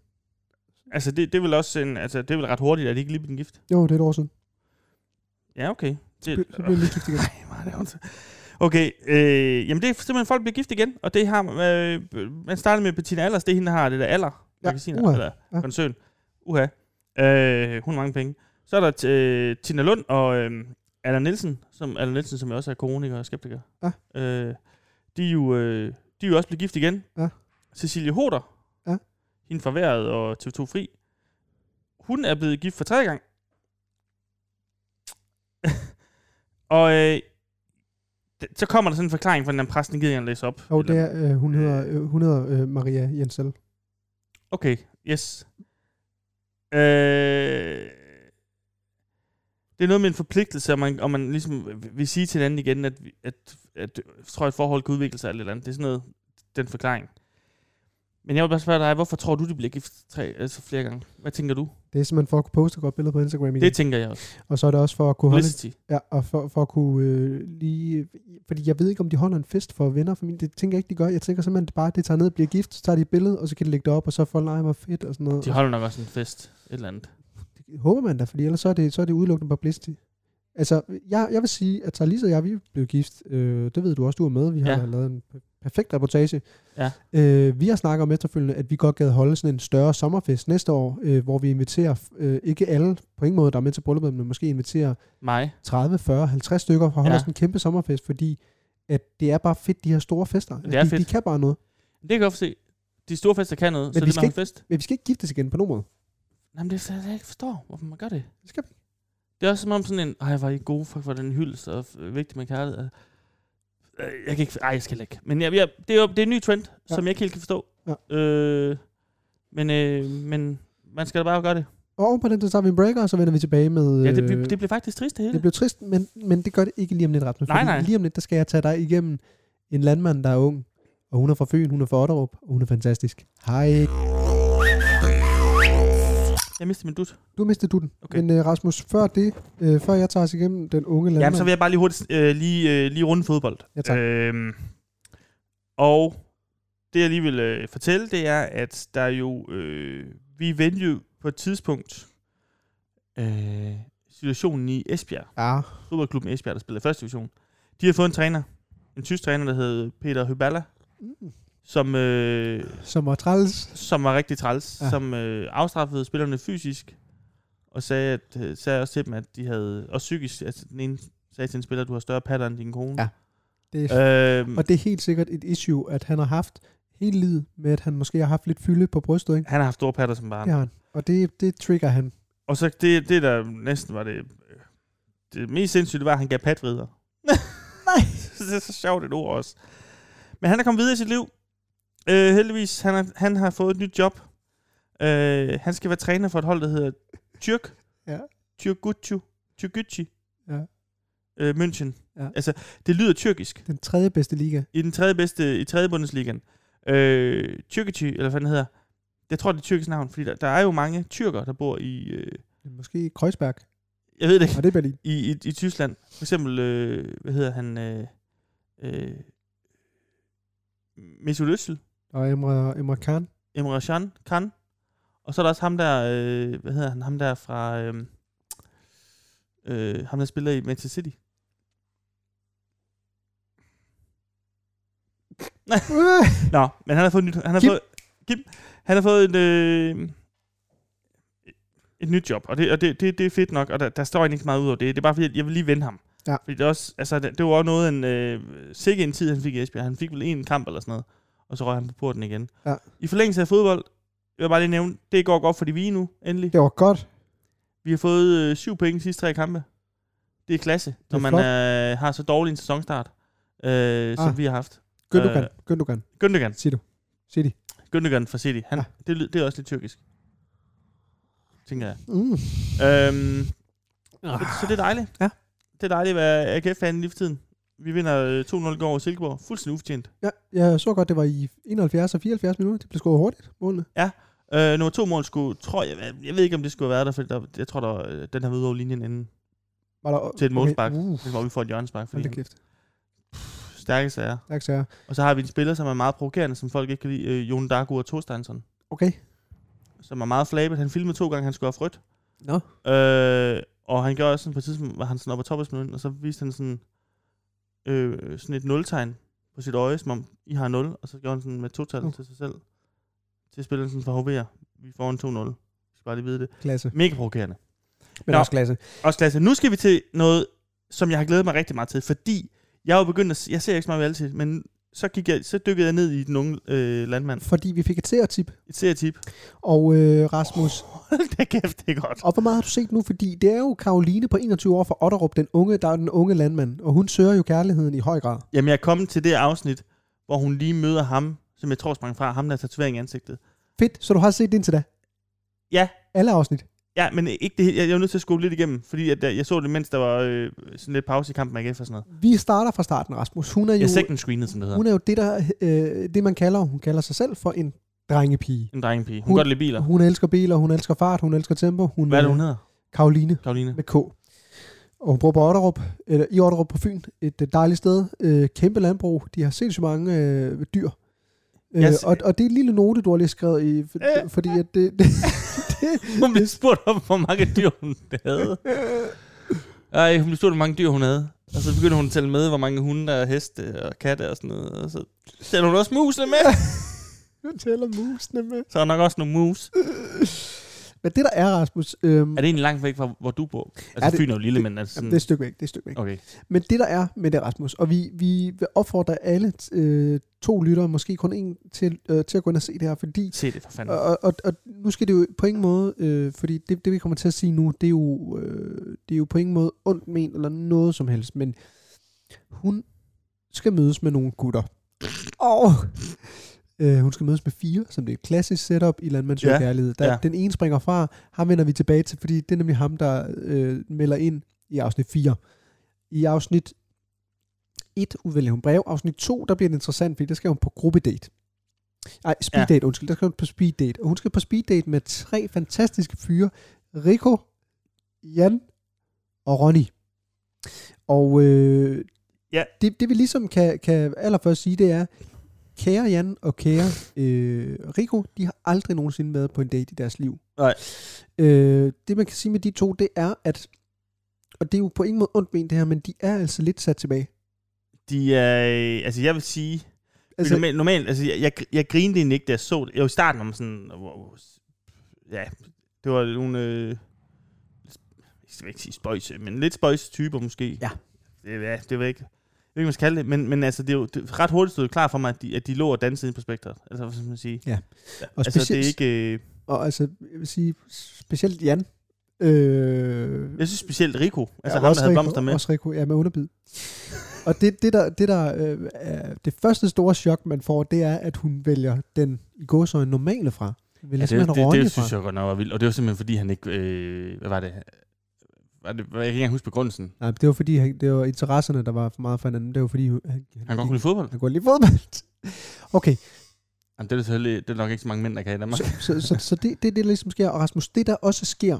S2: altså, det, det er vel også en, altså, det er vel ret hurtigt, at de ikke lige bliver gift.
S1: Jo, det er et år siden.
S2: Ja, okay. Det,
S1: Så bliver de gift igen.
S2: Ej, hvor er det ondt. Okay, øh, jamen det er simpelthen, folk bliver gift igen, og det har, øh, man startede med Bettina Allers, det er hende, der har det der Aller,
S1: Ja,
S2: ja, magasiner,
S1: uha,
S2: eller
S1: ja.
S2: koncern. Uha. Øh, hun har mange penge. Så er der t- øh, Tina Lund og øh, Allan Nielsen, som, Allan Nielsen, som jo også er koroniker og skeptiker.
S1: Ja.
S2: Øh, de, er jo, øh, de er jo også blevet gift igen.
S1: Ja.
S2: Cecilie Hoder,
S1: Ja.
S2: hende fra Været og TV2 Fri, hun er blevet gift for tredje gang. og øh, d- så kommer der sådan en forklaring fra den der præsten, gider jeg ikke læse op.
S1: Jo,
S2: Eller-
S1: det er, øh, hun hedder, øh, hun hedder øh, Maria Jensel.
S2: Okay, yes. Øh, det er noget med en forpligtelse, og man, og man ligesom vil sige til hinanden igen, at, vi- at, at, at tror, et forhold kan udvikle sig eller et eller andet. Det er sådan noget, den forklaring. Men jeg vil bare spørge dig, hvorfor tror du, de bliver gift tre, altså flere gange? Hvad tænker du?
S1: Det er simpelthen for at kunne poste et godt billede på Instagram igen.
S2: Det tænker jeg også.
S1: og så er det også for at kunne holde,
S2: Felicity.
S1: ja, og for, for at kunne øh, lige, fordi jeg ved ikke, om de holder en fest for venner og familie. Det tænker jeg ikke, de gør. Jeg tænker simpelthen bare, at det tager ned og bliver gift, så tager de et billede, og så kan de lægge det op, og så er folk, nej, hvor fedt og sådan noget.
S2: De holder nok også en fest. Et eller andet.
S1: Det håber man da, fordi ellers så er det, så er det udelukkende publicity. Altså, jeg, jeg vil sige, at Thalys og jeg, vi blev gift. Øh, det ved du også, du er med. Vi har
S2: Ja.
S1: ja. lavet en p- perfekt reportage.
S2: Ja.
S1: Øh, vi har snakket om efterfølgende, at vi godt gad holde sådan en større sommerfest næste år, øh, hvor vi inviterer, øh, ikke alle på ingen måde, der er med til brylluppet, men måske inviterer
S2: Mig.
S1: 30, 40, 50 stykker for at holde
S2: Ja.
S1: ja. sådan en kæmpe sommerfest, fordi at det er bare fedt, de her store fester. Altså,
S2: Det er
S1: de, de
S2: fedt.
S1: kan bare noget.
S2: Det kan jeg godt se. De store fester kan noget, Men
S1: vi
S2: så det
S1: skal
S2: er en
S1: ikke-
S2: fest.
S1: Men vi skal ikke giftes igen på nogen måde.
S2: Jamen, det er jeg ikke forstår, hvorfor man gør det.
S1: Det skal vi ikke.
S2: Det er også som om sådan en, ej, var I gode, fuck, var den hyldest, og øh, vigtigt med kærlighed. Øh, Jeg kan ikke, ej, jeg skal heller ikke. Men jeg, jeg, det, er jo, det er en ny trend, ja.
S1: Ja.
S2: som jeg ikke helt kan forstå.
S1: Ja.
S2: Øh, men, øh, men man skal da bare gøre det.
S1: Og oven på den, så tager vi en breaker, og så vender vi tilbage med...
S2: Ja, det,
S1: øh,
S2: bliver- det bliver faktisk trist, det hele.
S1: Det blev trist, men, men det gør det ikke lige om lidt, Rasmus.
S2: Nej,
S1: fordi
S2: nej.
S1: Lige om lidt, der skal jeg tage dig igennem en landmand, der er ung. Og hun er fra Fyn, hun er fra Otterup, og hun er fantastisk. Hej.
S2: Jeg mister min dut.
S1: Du mistede du den.
S2: Okay.
S1: Men uh, Rasmus, før det, uh, før jeg tager os igennem den unge landmand.
S2: Jamen, så vil jeg bare lige hurtigt øh, lige, øh, lige runde fodbold.
S1: Ja, tak.
S2: Øhm, og det, jeg lige vil øh, fortælle, det er, at der jo... Øh, vi vendte jo på et tidspunkt øh, situationen i Esbjerg.
S1: Ja,
S2: fodboldklubben Esbjerg, der spiller i første division, de har fået en træner. En tysk træner, der hed Peter Høballa,
S1: Mm.
S2: som, øh,
S1: som var træls.
S2: som var rigtig træls, ja.
S1: Ja.
S2: som øh, afstraffede spillerne fysisk, og sagde, at, øh, sagde også til dem, at de havde, og psykisk, at den ene sagde til en spiller, du har større patter end din kone.
S1: Ja. Det, øh.
S2: Øhm,
S1: Og det er helt sikkert et issue, at han har haft hele livet med, at han måske har haft lidt fylde på brystet. Ikke?
S2: han har haft store patter som barn.
S1: Det har han. Og det, det trigger han.
S2: Og så det, det, der næsten var det, øh, det mest sindssyge, det var, at han gav patvrider. Nej. det er så sjovt et ord også. Men han er kommet videre i sit liv. Øh, heldigvis, han, er, han har fået et nyt job. Øh, han skal være træner for et hold, der hedder Tyrk.
S1: Ja.
S2: Tyrkutju. Tyrkutji.
S1: Ja.
S2: Øh, München.
S1: Ja.
S2: Altså, det lyder tyrkisk.
S1: Den tredje bedste liga.
S2: I den tredje bedste, i tredje bundesligaen. Øh, Tyrkutji, eller hvad den hedder. Jeg tror, det er et tyrkisk navn, fordi der, der er jo mange tyrker, der bor i... Øh,
S1: Måske Kreuzberg.
S2: jeg ved det ikke
S1: Og det er Berlin.
S2: i, i, i Tyskland. For eksempel, øh, hvad hedder han? Øh, øh, Mesut Özil,
S1: Og Emre, Emre Khan.
S2: Emre Can, Can. Og så er der også ham der, øh, hvad hedder han? Ham der fra, øh, øh, ham der spiller i Manchester City.
S1: Øh,
S2: Nå, men han har fået et nyt, han har
S1: Kim.
S2: fået, Kim, han har fået et, øh, et nyt job, og det, og det, det, det er fedt nok, og der, der står egentlig ikke så meget ud over det. Det er bare fordi, jeg- jeg vil lige vende ham.
S1: Ja.
S2: Fordi det, er også, altså, det, det var også noget, en, øh, sikke en tid, han fik i Esbjerg. Han fik vel en kamp eller sådan noget, og så røg han på porten igen.
S1: Ja.
S2: I forlængelse af fodbold, jeg vil bare lige nævne, det går godt for de vi nu, endelig.
S1: det var godt.
S2: Vi har fået øh, syv point i de sidste tre kampe. Det er klasse,
S1: er
S2: når man
S1: flot.
S2: øh, har så dårlig en sæsonstart, øh, som
S1: Ah.
S2: vi har haft.
S1: Gündogan.
S2: Øh.
S1: Gündogan.
S2: Gündogan.
S1: Siger du. Siger de.
S2: Gündogan fra City. Han, ja.
S1: Ja.
S2: det, lyd- det er også lidt tyrkisk. Tænker jeg.
S1: Mm.
S2: Øhm, så, så det er dejligt.
S1: Ja.
S2: Det er dejligt at være AGF-fan lige for tiden. Vi vinder øh, 2-0 i går over Silkeborg. Fuldstændig ufortjent.
S1: Ja, jeg så godt, det var i 71 og 74 minutter. Det blev skåret hurtigt, målene.
S2: Øh, nummer to mål skulle, tror jeg, jeg, jeg ved ikke om det skulle have været der, for der, jeg tror, der, var, øh, den har været ude over linjen inden.
S1: Var der,
S2: Til et målspark.
S1: Okay. Uh,
S2: Det var, vi får et hjørnespark, fordi
S1: hold da
S2: han
S1: kæft.
S2: stærkeste er.
S1: Tak, sager.
S2: Og så har vi en spiller, som er meget provokerende, som folk ikke kan lide, øh, Jon Dagur Thorsteinsson,
S1: Okay.
S2: som er meget flabet. Han filmede to gange, han skulle have frødt.
S1: Nå.
S2: Øh, og han gjorde også sådan på et tidspunkt, var han sådan oppe på toppen, og så viste han sådan øh, sådan et nultegn på sit øje, som om I har 0, og så gjorde han sådan med total
S1: Mm.
S2: til sig selv. Til spilleren sådan for HV'er. Vi får en 2-0. I skal bare lige vide det.
S1: Klasse.
S2: Mega provokerende.
S1: Men
S2: Nå.
S1: også klasse.
S2: Også klasse. Nu skal vi til noget, som jeg har glædet mig rigtig meget til, fordi jeg er jo begyndt at... se- Jeg ser ikke så meget ved altid, men så, gik jeg, så dykkede jeg ned i den unge øh, landmand.
S1: Fordi vi fik et seertip.
S2: Et serietip.
S1: Og øh, Rasmus,
S2: Hold da kæft, det er godt.
S1: Og hvor meget har du set nu? Fordi det er jo Karoline på 21 år fra Otterup, den unge, der er den unge landmand, og hun søger jo kærligheden i høj grad.
S2: Jamen, jeg er kommet til det afsnit, hvor hun lige møder ham, som jeg tror sprang fra, ham der har tatovering i ansigtet.
S1: Fedt, så du har set det indtil da?
S2: Ja.
S1: Alle afsnit?
S2: Ja, men ikke det hele. Jeg, jeg var nødt til at skole lidt igennem, fordi at, jeg, jeg så det, mens der var øh, sådan lidt pause i kampen med AGF og sådan noget.
S1: Vi starter fra starten, Rasmus. Hun er
S2: Jeg
S1: jo,
S2: second screenede, som det hedder.
S1: hun er jo det, der, øh, det, man kalder, hun kalder sig selv for en drengepige.
S2: En drengepige. Hun,
S1: Hun-
S2: kan godt lide biler.
S1: Hun elsker biler, hun elsker fart, hun elsker tempo. Hun øh,
S2: Hvad er det, hun hedder?
S1: Karoline
S2: Karoline.
S1: med K. Og hun bor på Otterup, eller i Otterup på Fyn. Et øh, dejligt sted. Øh, kæmpe landbrug. De har sindssygt mange øh, dyr. Øh,
S2: Jeg s-
S1: og, og det er en lille note, du har lige skrevet i, for,
S2: Øh.
S1: fordi at det, det,
S2: Hun blev spurgt om, hvor mange dyr hun havde. Ej, hun blev spurgt, hvor mange dyr hun havde. Og så begyndte hun at tælle med, hvor mange hunde og heste og katte og sådan noget. Og så sætter hun også musene med.
S1: Nu tæller musene med.
S2: Så er der nok også nogle mus.
S1: Men det der er, Rasmus, øhm,
S2: Er det egentlig langt væk fra, hvor du bor? Altså,
S1: Er
S2: er
S1: det-
S2: Fyn er jo lille, men altså sådan...
S1: jamen, det er et stykke væk, det er et stykke væk.
S2: Okay.
S1: Men det der er med det, Rasmus, og vi, vi vil opfordre alle øh, to lyttere, måske kun en, til, øh, til at gå ind og se det her, fordi
S2: Se det for fanden.
S1: og, og, og, og nu skal det jo på ingen måde, øh, fordi det, det vi kommer til at sige nu, det er jo, øh, det er jo på ingen måde ondt men eller noget som helst, men hun skal mødes med nogle gutter. Og øh, hun skal mødes med fire, som det er et klassisk setup i Landmands
S2: Ja,
S1: ja, Kærlighed. Der,
S2: ja.
S1: ja. Den ene springer fra, ham vender vi tilbage til, fordi det er nemlig ham, der øh, melder ind i afsnit 4. I afsnit 1 udvælger hun brev. Afsnit 2, der bliver det interessant, fordi der skal hun på gruppedate. Nej, speeddate, ja. undskyld. Der skal hun på speeddate. Og hun skal på speeddate med tre fantastiske fyre. Rico, Jan og Ronny. Og øh,
S2: Ja.
S1: det, det vi ligesom kan, kan allerførst sige, det er, kære Jan og kære øh, Rico, de har aldrig nogensinde været på en date i deres liv.
S2: Nej.
S1: Øh, det man kan sige med de to, det er, at, og det er jo på ingen måde ondt men det her, men de er altså lidt sat tilbage.
S2: De er... øh, Altså, jeg vil sige... Altså,
S1: Altså,
S2: normalt, normalt, altså, jeg, jeg, jeg grinede egentlig ikke, da jeg så det. Jeg var i starten om sådan... Wow, ja, det var nogle... Øh, jeg skal ikke sige spøjse, men lidt spøjse typer måske.
S1: Ja.
S2: Det, ja, det var ikke... Jeg ved ikke, hvad man skal kalde det, men, men altså, det er jo det, ret hurtigt stod det klart for mig, at de, at de lå og dansede inde på spektret. Altså, hvad skal man sige?
S1: Ja.
S2: Og
S1: Og
S2: altså, det er
S1: specielt-
S2: ikke... Øh,
S1: og altså, jeg vil sige, specielt Jan. Øh,
S2: jeg synes specielt Rico, altså
S1: og
S2: ham, der
S1: også
S2: havde
S1: Rico-
S2: blomster med.
S1: Også Rico, ja, med underbid. og det, det der, det, der øh, er det første store chok, man får, det er, at hun vælger den i gåsøjne normale fra. Hun vælger ja,
S2: Ja, det,
S1: simpelthen
S2: det, det,
S1: Ronny
S2: det
S1: fra.
S2: synes jeg godt nok var vildt. Og det var simpelthen, fordi han ikke... Øh, hvad var det? Var det var, jeg kan ikke engang huske begrundelsen.
S1: Nej, det var fordi, han, det var interesserne, der var for meget for hinanden. Det var fordi, han, han,
S2: Han godt kunne lide fodbold.
S1: han kunne lide fodbold. Okay,
S2: Jamen, det, er selvfølgelig, det er nok ikke så mange mænd, der kan i Danmark.
S1: så, så, så, så det er det, der ligesom sker. Og Rasmus, det der også sker,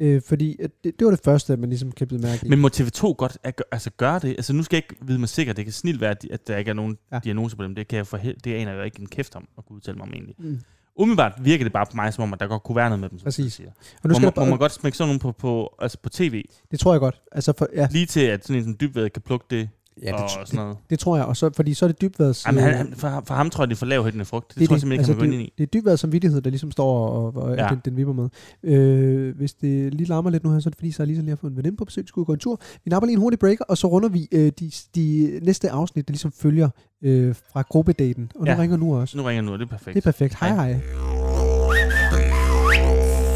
S1: øh, fordi at det, det var det første, at man ligesom kan blive mærke i.
S2: Men må TV2 godt at, gø- altså, gøre det? Altså, nu skal jeg ikke vide mig sikkert. Det kan snilt være, at de- at der ikke er nogen ja.
S1: Ja.
S2: diagnose på dem. Det, kan jeg for, hel- det aner jeg jo ikke en kæft om at kunne udtale mig om egentlig.
S1: Mm.
S2: Umiddelbart virker det bare på mig, som om, at der godt kunne være noget med dem. som du
S1: Præcis.
S2: Siger.
S1: Og nu
S2: Må,
S1: skal
S2: man,
S1: der
S2: må man
S1: bare,
S2: godt smække sådan nogen på, på, altså på tv,
S1: det tror jeg godt. Altså for, ja,
S2: lige til at sådan en som dybved kan plukke det,
S1: ja
S2: og
S1: det,
S2: sådan noget.
S1: det, det, tror jeg. Og så, fordi så er det øh, dybværet.
S2: Jamen, han, han, for, for, ham tror jeg, det er for lavhældende frugt. Det, det
S1: er
S2: tror jeg simpelthen ikke, han vil gå ind i.
S1: det, det er dybværet samvittighed, der ligesom står og, og
S2: Ja.
S1: ja. den, den vipper med. Øh, hvis det lige larmer lidt nu her, så er det fordi, så lige lige har fået en veninde på besøg, de skulle ud og gå en tur. Vi napper lige en hurtig breaker, og så runder vi øh, de, de næste afsnit, der ligesom følger øh, fra gruppedaten. Og nu
S2: Ja.
S1: ja. ringer nu også.
S2: Nu ringer jeg nu, og det er perfekt.
S1: Det er perfekt. Hej hej.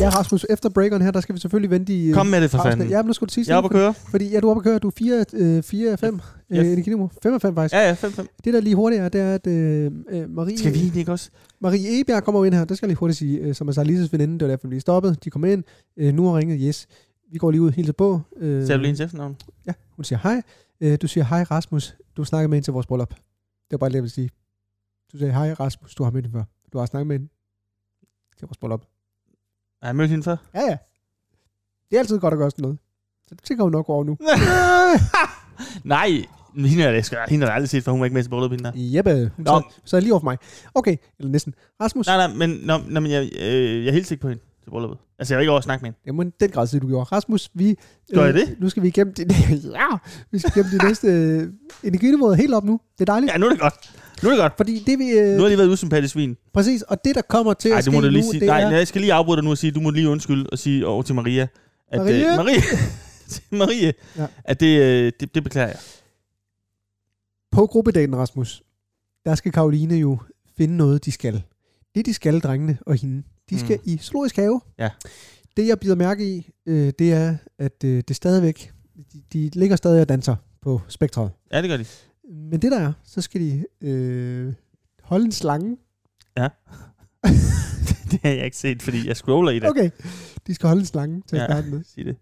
S1: Ja, Rasmus, efter breakeren her, der skal vi selvfølgelig vente i... øh,
S2: Kom med det for
S1: afsnit.
S2: fanden.
S1: Ja, men nu skal du sige
S2: Jeg er oppe at køre.
S1: Fordi ja, du er oppe at køre. Du er 4 øh, 4 af 5 øh,
S2: Yes.
S1: energiniveau. 5 af 5 faktisk. Ja.
S2: Ja, ja, 5-5.
S1: Det der lige hurtigt er, det er, at øh, øh, Marie...
S2: Skal vi egentlig ikke også?
S1: Marie Ebjerg kommer jo ind her, det skal jeg lige hurtigt sige, øh, som er Sarlises veninde, det var derfor, vi blev stoppet. De kom ind, øh, nu har ringet, yes. Vi går lige ud helt på. Øh,
S2: Ser du lige hendes efternavn?
S1: Ja, hun siger hej. Øh, du siger hej Rasmus, du snakker med hende til vores bryllup. Det var bare det, jeg ville sige. Du sagde hej Rasmus, du har mødt hende før. Du har snakket med hende til vores bryllup.
S2: Har jeg mødt hende før?
S1: Ja, ja. Det er altid godt at gøre sådan noget. Så det tænker hun nok over nu.
S2: Nej, hende er det, skal, hende har jeg aldrig set, for hun var ikke med til bryllup hende der.
S1: Jeppe, hun
S2: Nå.
S1: sad, sad lige over for mig. Okay, eller næsten. Rasmus,
S2: Nej, nej, men, nå, nå, men jeg, øh, jeg er helt sikker på hende. Så til brylluppet. Altså, jeg vil ikke over at snakke med hende.
S1: Jamen, den grad siger du gjorde. Rasmus, vi... øh,
S2: Gør jeg det?
S1: Nu skal vi igennem de, ja, vi skal igennem de næste øh, energiniveauer helt op nu. Det er dejligt.
S2: Ja, nu er det godt. Nu er det godt.
S1: Fordi det vi... Øh,
S2: Nu har jeg lige været usympatisk svin.
S1: Præcis, og det der kommer til
S2: Nej,
S1: at
S2: du
S1: ske
S2: må da lige
S1: nu,
S2: sige,
S1: det
S2: nej,
S1: er...
S2: jeg skal lige afbryde dig nu og sige, du må lige undskylde og sige over til Maria, at
S1: Maria?
S2: Øh, Marie, til Marie
S1: Ja.
S2: ja. at det, øh, det, det beklager jeg.
S1: På gruppedagen, Rasmus, der skal Karoline jo finde noget, de skal. Det, de skal, drengene og hende, de skal mm. i zoologisk have.
S2: Ja.
S1: Det, jeg bider mærke i, øh, det er, at øh, det stadigvæk, de, de ligger stadig og danser på spektret.
S2: Ja, det gør de.
S1: Men det der er, så skal de øh, holde en slange.
S2: Det har jeg ikke set, fordi jeg scroller i det. Okay.
S1: Okay, de skal holde en slange til at
S2: Ja.
S1: starte med.
S2: Sig det.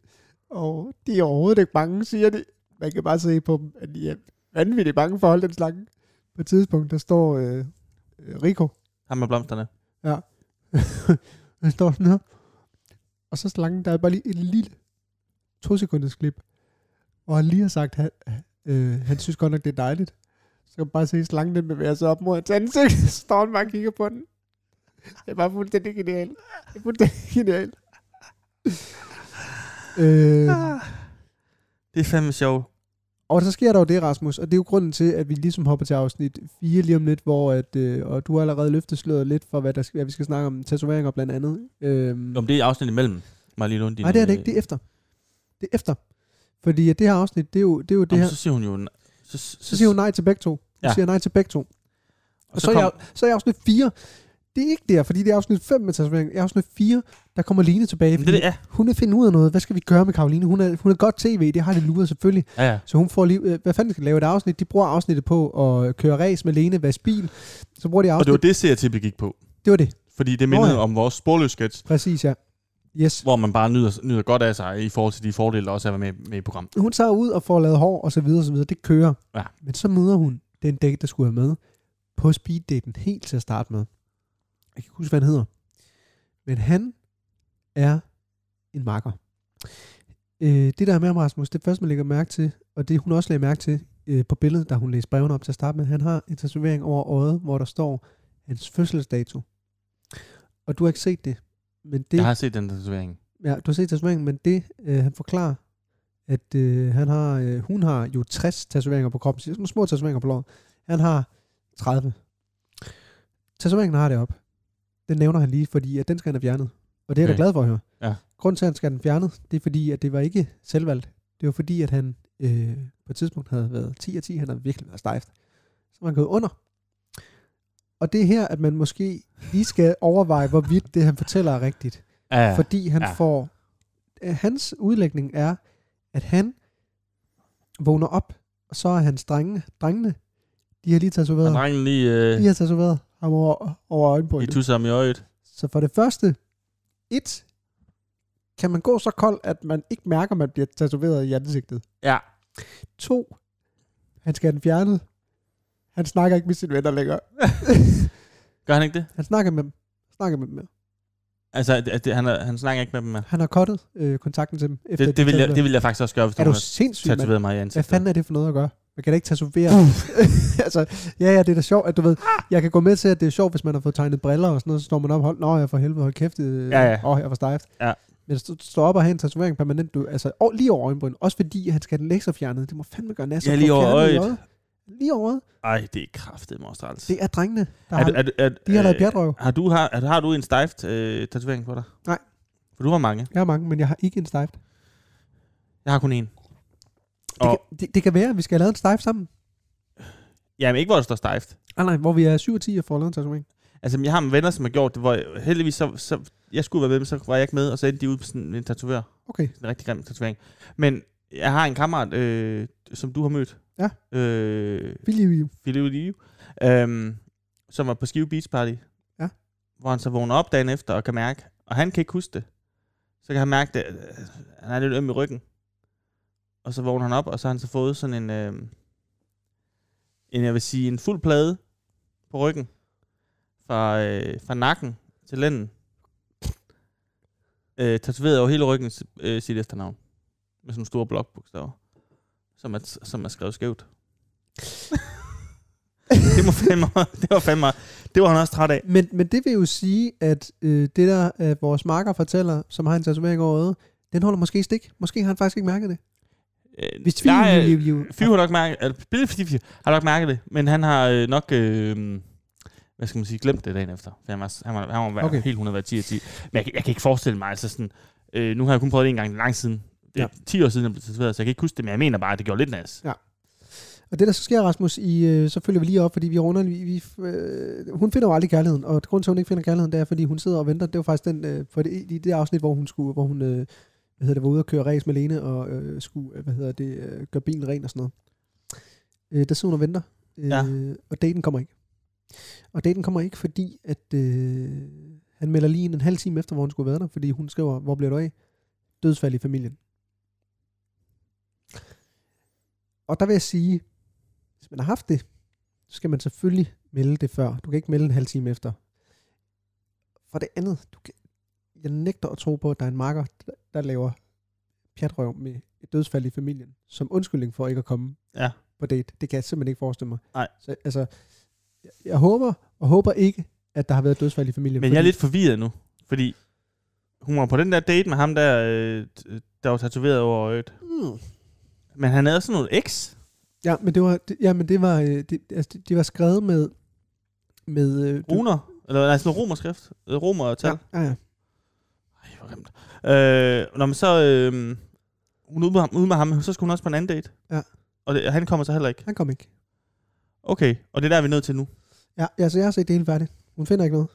S1: Og de er overhovedet ikke bange, siger de. Man kan bare se på dem, at de er vanvittigt bange for at holde den slange. På et tidspunkt, der står øh, øh, Rico,
S2: Ham med blomsterne.
S1: han står sådan her. Og så slangen, der er bare lige et lille to sekunders klip. Og han lige har sagt, han, øh, han synes godt nok, det er dejligt. Så kan man bare se slangen, den bevæger sig op mod hans ansigt. Så står han bare og kigger på den. Det er bare fuldstændig genialt. Det er fuldstændig genialt. Øh,
S2: Ah. Det er fandme sjovt.
S1: Og så sker der jo det, Rasmus, og det er jo grunden til, at vi ligesom hopper til afsnit 4 lige om lidt, hvor at, øh, og du har allerede løftet sløret lidt for, hvad, der, skal- hvad vi skal snakke om, tatoveringer blandt andet. Øhm,
S2: Om det er afsnit imellem, Marie Lundin.
S1: Nej, det er det ikke.
S2: øh,
S1: Det er efter. Det er efter. Fordi at det her afsnit, det er jo det, er jo det her.
S2: Så siger hun jo... n- Så, så,
S1: Så siger hun nej til begge to. Hun ja.
S2: Ja.
S1: siger nej til begge to. Og så, så,
S2: kom-
S1: er jeg, så er jeg afsnit 4. Det er ikke der, fordi det er afsnit 5 med tatovering. I afsnit 4, der kommer Line tilbage.
S2: Jamen, det, er det er.
S1: Hun vil finde ud af noget. Hvad skal vi gøre med Karoline? Hun er, hun er godt tv, det har det luret selvfølgelig.
S2: Ja, ja.
S1: Så hun får lige, øh, hvad fanden skal de lave et afsnit? De bruger afsnittet på at køre race med Lene, vaske bil. Så bruger de
S2: Og
S1: afsnit.
S2: det var det, CRTB gik på.
S1: det var det.
S2: Fordi det mindede
S1: Nå, ja.
S2: om vores sporløs sketch,
S1: Præcis, ja. Yes.
S2: hvor man bare nyder, nyder godt af sig i forhold til de fordele, der også er med, med i programmet.
S1: Hun tager ud og får lavet hår og så videre, og så videre. Det kører.
S2: Ja.
S1: Men så møder hun den date, der skulle have med på speeddaten helt til at starte med. Jeg kan ikke huske, hvad han hedder. Men han er en makker. Øh, det der er med ham, Rasmus, det første, man lægger mærke til, og det hun også lagde mærke til øh, på billedet, da hun læste brevene op til at starte med, han har en tatovering over øjet, hvor der står hans fødselsdato. Og du har ikke set det, men det...
S2: Jeg har set den tatovering.
S1: Ja, du har set tatoveringen, men det, øh, han forklarer, at øh, han har, øh, hun har jo 60 tatoveringer på kroppen. Så det er Sådan nogle små tatoveringer på låret. Han har 30. Tatoveringen har det op. Den nævner han lige, fordi at den skal han have fjernet. Og det er jeg
S2: Okay.
S1: da glad for at høre.
S2: Ja.
S1: Grunden til, at han skal have den fjernet, det er fordi, at det var ikke selvvalgt. Det var fordi, at han øh, på et tidspunkt havde været 10 af 10. Han havde virkelig været stejft. Så var han gået under. Og det er her, at man måske lige skal overveje, hvorvidt det, han fortæller, er rigtigt.
S2: Ja, ja.
S1: Fordi han ja.
S2: ja.
S1: får... øh, Hans udlægning er, at han vågner op, og så er hans drenge, drengene, de har lige tatoveret,
S2: Han
S1: ham.
S2: drengen lige øh,
S1: de har tatoveret ham over, over
S2: i
S1: øjenbrynet.
S2: tusser ham i øjet.
S1: Så for det første, et, kan man gå så kold, at man ikke mærker, at man bliver tatoveret i ansigtet.
S2: Ja.
S1: To, han skal have den fjernet. Han snakker ikke med sine venner længere.
S2: Gør han ikke det?
S1: Han snakker med dem. Snakker med dem. mere.
S2: Altså, at, at det, han, er- han snakker ikke med dem mere.
S1: Han har kottet øh, kontakten til dem. Efter
S2: Det,
S1: de
S2: det, vil jeg,
S1: tatoverede.
S2: det vil jeg faktisk også gøre, hvis
S1: er
S2: du
S1: du
S2: har
S1: sindssyg, mand?
S2: tatoveret mig i
S1: Hvad
S2: ansigtet.
S1: fanden er det for noget at gøre? Man kan da ikke tatovere. altså, ja, ja, det er da sjovt, at du ved, jeg kan gå med til, at det er sjovt, hvis man har fået tegnet briller og sådan noget, så står man op, hold, nå, jeg for helvede, hold kæft, øh,
S2: Ja, ja.
S1: Åh, jeg var stejft.
S2: Ja.
S1: Men at stå- stå op og have en tatovering permanent, du, altså og, lige over øjenbryn, også fordi han skal have den læser fjernet, det må fandme gøre nasser.
S2: Ja, lige over øjet.
S1: Lige over øjet.
S2: Ej, det er kraftedeme også træls.
S1: Det er drengene, der
S2: Er,
S1: har,
S2: du- er, du- er,
S1: de har lavet
S2: øh,
S1: bjergrøv.
S2: Har du, har, er du- har du en stejft øh, tatovering på dig?
S1: Nej.
S2: For du har mange.
S1: Jeg har mange, men jeg har ikke en stejft. Det,
S2: Jeg har kun en. Og,
S1: kan, det, det, kan være, at vi skal have lavet en stejft sammen.
S2: jamen, ikke hvor der står stejft.
S1: Ah, nej, hvor vi er 7 og 10 og får lavet en tatovering.
S2: Altså, jeg har nogle venner, som har gjort det, hvor jeg, heldigvis, så, så, jeg skulle være med dem, så var jeg ikke med, og så endte de ud på sådan en tatovør.
S1: Okay,
S2: Sådan en rigtig grim tatovering. Men jeg har en kammerat, øh, som du har mødt.
S1: Ja.
S2: Øh,
S1: Philip,
S2: Philip Liu, øhm, som var på Skive Beach Party.
S1: Ja.
S2: Hvor han så vågner op dagen efter og kan mærke, og han kan ikke huske det. Så kan han mærke det, øh, han er lidt øm i ryggen. Og så vågner han op, og så har han så fået sådan en, øh, en jeg vil sige, en fuld plade på ryggen. Fra, øh, fra nakken til lænden. Øh, tatoveret over hele ryggen øh, sit efternavn. Med sådan store blokbogstaver. Som er, som er skrevet skævt. det, må fandme, det var fandme, det var han også træt af.
S1: Men, men det vil jo sige, at øh, det der, at vores marker fortæller, som har en tatovering over øjet, den holder måske i stik. Måske har han faktisk ikke mærket det.
S2: Øh,
S1: Hvis tvivl,
S2: der er-
S1: jo, jo, jo.
S2: Fyv har nok mærket, altså, Billy Fyv har nok mærket det, men han har øh, nok, øh, hvad skal man sige, glemt det dagen efter. For han var, han var, han var, han var
S1: Okay.
S2: okay. helt 100 10 af 10. Men jeg, kan- jeg kan ikke forestille mig, altså sådan, øh, nu har jeg kun prøvet det en gang lang siden. Det er
S1: Ja.
S2: ja. 10 år siden, jeg blev tatoveret, så jeg kan ikke huske det, men jeg mener bare, at det gjorde lidt nas.
S1: Og det, der så sker, Rasmus, i, øh, så følger vi lige op, fordi vi runder, vi, vi, øh, hun finder jo aldrig kærligheden, og grunden til, at hun ikke finder kærligheden, det er, fordi hun sidder og venter. Det var faktisk den, øh, for det, i det afsnit, hvor hun skulle, hvor hun, øh, hvad hedder det, var ude og køre race med Lene, og øh, skulle, øh, hvad hedder det, øh, gøre bilen ren og sådan noget. Øh, der sidder hun og venter, øh,
S2: Ja.
S1: og daten kommer ikke. Og daten kommer ikke, fordi at øh, han melder lige ind en halv time efter, hvor hun skulle have været der, fordi hun skriver, hvor bliver du af? Dødsfald i familien. Og der vil jeg sige, hvis man har haft det, så skal man selvfølgelig melde det før. Du kan ikke melde en halv time efter. For det andet, du kan, jeg nægter at tro på, at der er en marker, der, der laver pjatrøv med et dødsfald i familien, som undskyldning for ikke at komme
S2: Ja.
S1: på date. Det kan jeg simpelthen ikke forestille mig.
S2: Nej.
S1: Så, altså, jeg, jeg håber og håber ikke, at der har været et dødsfald i familien.
S2: Men jeg er lidt forvirret nu, fordi hun var på den der date med ham der, øh, t- der var tatoveret over øjet.
S1: Mm.
S2: Men han havde sådan noget X.
S1: Ja, men det var, det, ja, men det var, øh, det, altså, det, det var skrevet med... med øh, du-
S2: Runer. Eller nej, sådan noget romerskrift. Øh, Romer og tal.
S1: Ja, ja, ja.
S2: Ej, hvor grimt. Øh, når man så... Øh, hun er ude med, ham, ude med ham, så skulle hun også på en anden date.
S1: Ja.
S2: Og, det, og han kommer så heller ikke.
S1: Han kom ikke.
S2: Okay, og det er der, vi er nødt til nu.
S1: Ja, altså jeg har set det hele færdigt. Hun finder ikke noget.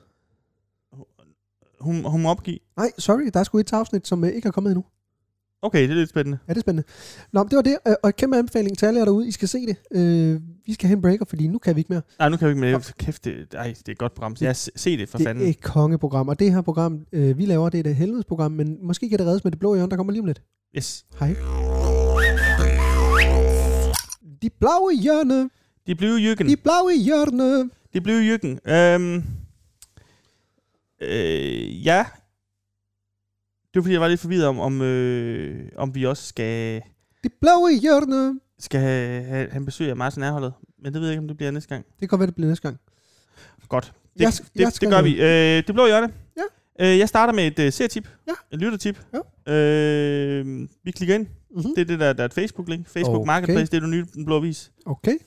S2: Hun, hun må opgive.
S1: Nej, sorry, der er sgu et afsnit, som øh, ikke er kommet endnu.
S2: Okay, det er lidt spændende.
S1: Ja, det er spændende. Nå, men det var det, øh, og et kæmpe anbefaling til alle jer derude. I skal se det. Øh, vi skal have en breaker, fordi nu kan vi ikke mere.
S2: Nej, nu kan vi ikke med. Kæft, det, ej, det er et godt program. Ja, se se det for
S1: det
S2: fanden.
S1: er et kongeprogram, og det her program, øh, vi laver, det er et helvedesprogram, men måske kan det reddes med det blå hjørne, der kommer lige om lidt.
S2: Yes.
S1: Hej. De blaue hjørne,
S2: De blev Jørgen.
S1: de blaue hjørne.
S2: Det blev Jørgen. Øhm, øh, ja. Det var fordi, jeg var lidt forvirret om, om, øh, om vi også skal,
S1: De blaue hjørne.
S2: skal have, have en besøg af Martin Erholdet. Men det ved jeg ikke, om det bliver næste gang.
S1: Det kan godt være, det bliver næste gang.
S2: Godt. Det,
S1: Jeg
S2: jeg,
S1: sk-
S2: det,
S1: jeg
S2: det,
S1: skal
S2: det gør
S1: ned.
S2: vi. Øh, det blå hjørne.
S1: Ja.
S2: Øh, jeg starter med et øh, seertip.
S1: Ja.
S2: Et lyttertip.
S1: Ja.
S2: Øh, vi klikker ind.
S1: Mm-hmm.
S2: Det er det, der, der er et Facebook-link. Facebook
S1: Okay.
S2: Marketplace, det er du nye den blå avis.
S1: Okay,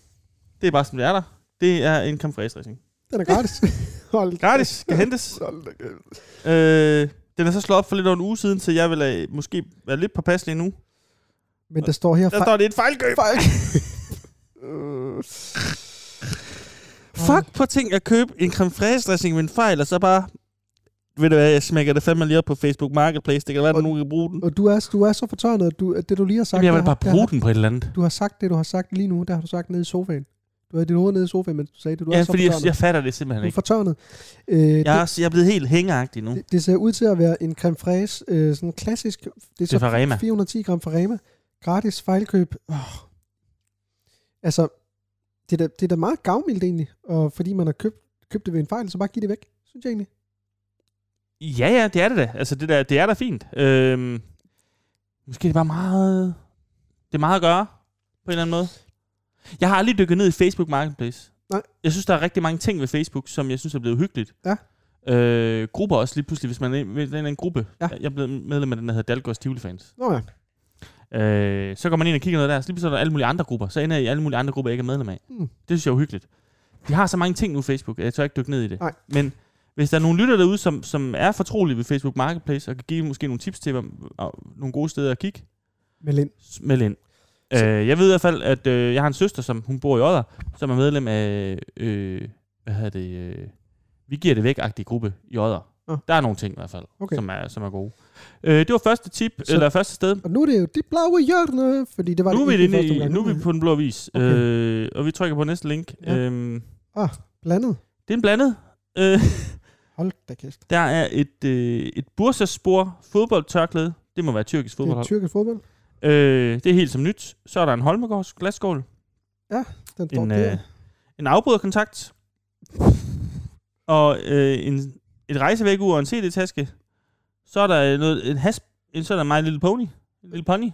S2: Det er bare, som det er der. Det er en kamfræsdressing.
S1: den er gratis. Hold da-
S2: Gratis, skal hentes.
S1: Hold da kæft.
S2: Øh, den er så slået op for lidt over en uge siden, så jeg vil øh, måske være lidt påpasselig nu.
S1: Men der står her...
S2: Der står, det er et fejlkøb.
S1: Fuck.
S2: Øh. Fuck på ting at købe en creme fraise dressing med en fejl, og så bare... Ved du hvad, jeg smækker det fandme lige op på Facebook Marketplace. Det kan være, at
S1: Og-
S2: nogen kan bruge den.
S1: Og du er, du er så fortørnet, at, du, at det du lige har sagt...
S2: Jamen, jeg vil
S1: det har-
S2: bare
S1: det har-
S2: bruge den på et eller andet.
S1: Du har sagt det, du har sagt lige nu, der har du sagt nede i sofaen. Du havde dit hoved nede i sofaen, men du sagde det, du
S2: Ja,
S1: er så
S2: fordi jeg,
S1: fortørnet.
S2: jeg fatter det simpelthen
S1: du er
S2: ikke.
S1: fortørnet. Øh,
S2: Jeg er,
S1: det,
S2: også- jeg er blevet helt hængeragtig nu.
S1: det, det, ser ud til at være en creme fraise, øh, sådan en klassisk... Det er
S2: Det er fra Rema.
S1: 410 gram fra Rema. Gratis fejlkøb. Oh. Altså, det er, da, det er da meget gavmildt egentlig, og fordi man har købt, købt det ved en fejl, så bare giv det væk, synes jeg egentlig.
S2: Ja, ja, det er det da. Altså, det, der, det er da fint. Øhm, måske er det bare meget... Det er meget at gøre, på en eller anden måde. Jeg har aldrig dykket ned i Facebook Marketplace.
S1: Nej.
S2: Jeg synes, der er rigtig mange ting ved Facebook, som jeg synes er blevet hyggeligt.
S1: Ja.
S2: Øh, grupper også lige pludselig, hvis man er med en eller anden gruppe.
S1: Ja.
S2: Jeg er blevet medlem af den, der hedder Dalgårds Tivoli Fans.
S1: Nå ja.
S2: Øh, så går man ind og kigger noget der, så lige pludselig er der alle mulige andre grupper. Så ender jeg i alle mulige andre grupper, jeg ikke er medlem af.
S1: Mm.
S2: Mm. Det synes jeg er uhyggeligt. De har så mange ting nu, Facebook. at Jeg tør ikke dykke ned i det.
S1: Nej.
S2: Men hvis der er nogle lytter derude, som, som er fortrolige ved Facebook Marketplace, og kan give måske nogle tips til, hvad, og nogle gode steder at kigge,
S1: Meld ind.
S2: s- meld ind. Øh, jeg ved i hvert fald, at øh, jeg har en søster, som hun bor i Odder, som er medlem af, øh, hvad hedder det, øh, vi giver det væk-agtige gruppe i Odder.
S1: Nå.
S2: Der er nogle ting i hvert fald,
S1: Okay.
S2: som, er, som er gode. Øh, det var første tip,
S1: Så-
S2: eller første sted.
S1: Og nu er det jo de blaue hjørne, fordi det var
S2: Nu er,
S1: det
S2: vi
S1: ikke
S2: inde
S1: første
S2: i,
S1: omgang.
S2: nu er vi på den blå vis,
S1: Okay.
S2: okay. øh, og vi trykker på næste link.
S1: Ja.
S2: Ja. Øhm,
S1: Ah, blandet.
S2: det er en blandet. Øh,
S1: Hold da kæft.
S2: der er et, øh, et Bursaspor fodboldtørklæde. Det må være tyrkisk
S1: Det er
S2: fodboldhold.
S1: tyrkisk fodbold.
S2: Det er, øh, det er helt som nyt. Så er der en Holmegårds glasskål.
S1: Den står
S2: En,
S1: der.
S2: øh, en afbryderkontakt. Og øh, en, et rejsevægur og en CD-taske. Så er der noget, en hasp, en, så er der My Little Pony. En lille pony.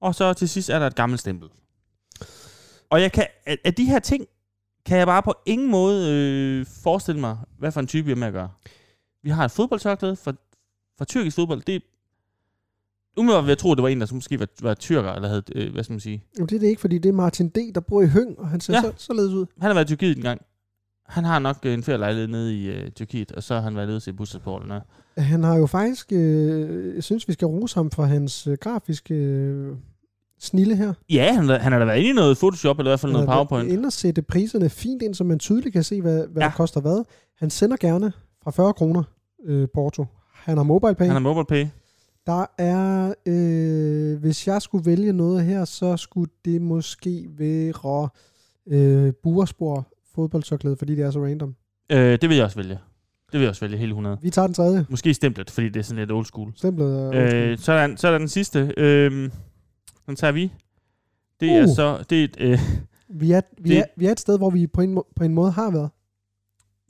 S2: Og så til sidst er der et gammelt stempel. Og jeg kan, af af de her ting, kan jeg bare på ingen måde øh, forestille mig, hvad for en type vi er med at gøre. Vi har et fodboldtørklæde for, for tyrkisk fodbold. Det Umiddelbart vil jeg tro, at det var en, der som måske var, var tyrker, eller havde, øh, hvad skal man sige.
S1: Jamen, det er det ikke, fordi det er Martin D., der bor i Høng, og han ser ja.
S2: Ja.
S1: så, således ud.
S2: Han har været i Tyrkiet en gang. Han har nok øh, en ferielejlighed nede i øh, Tyrkiet, og så har han været nede til bussersport eller noget.
S1: Han har jo faktisk, øh, jeg synes, vi skal rose ham for hans øh, grafiske øh, snille her.
S2: Ja, han, har- han har da været inde i noget Photoshop, eller i hvert fald noget
S1: Han har været
S2: PowerPoint.
S1: Inde og sætte priserne fint ind, så man tydeligt kan se, hvad, hvad ja.
S2: Ja.
S1: det koster hvad. Han sender gerne fra 40 kroner øh, Porto. Han har mobile pay.
S2: Han har mobile pay.
S1: Der er, øh, hvis jeg skulle vælge noget her, så skulle det måske være øh, burspor fodboldtørklæde, fordi det er så random.
S2: Øh, det vil jeg også vælge. Det vil jeg også vælge, hele 100.
S1: Vi tager den tredje.
S2: Måske stemplet, fordi det er sådan lidt old school.
S1: Stemplet er
S2: Øh, så, er der, så er der den sidste. Øh, den tager vi. Det er
S1: Uh.
S2: så... Det er, et, øh,
S1: Vi er, vi,
S2: Det-
S1: er, vi er et sted, hvor vi på en, må- på en måde har været.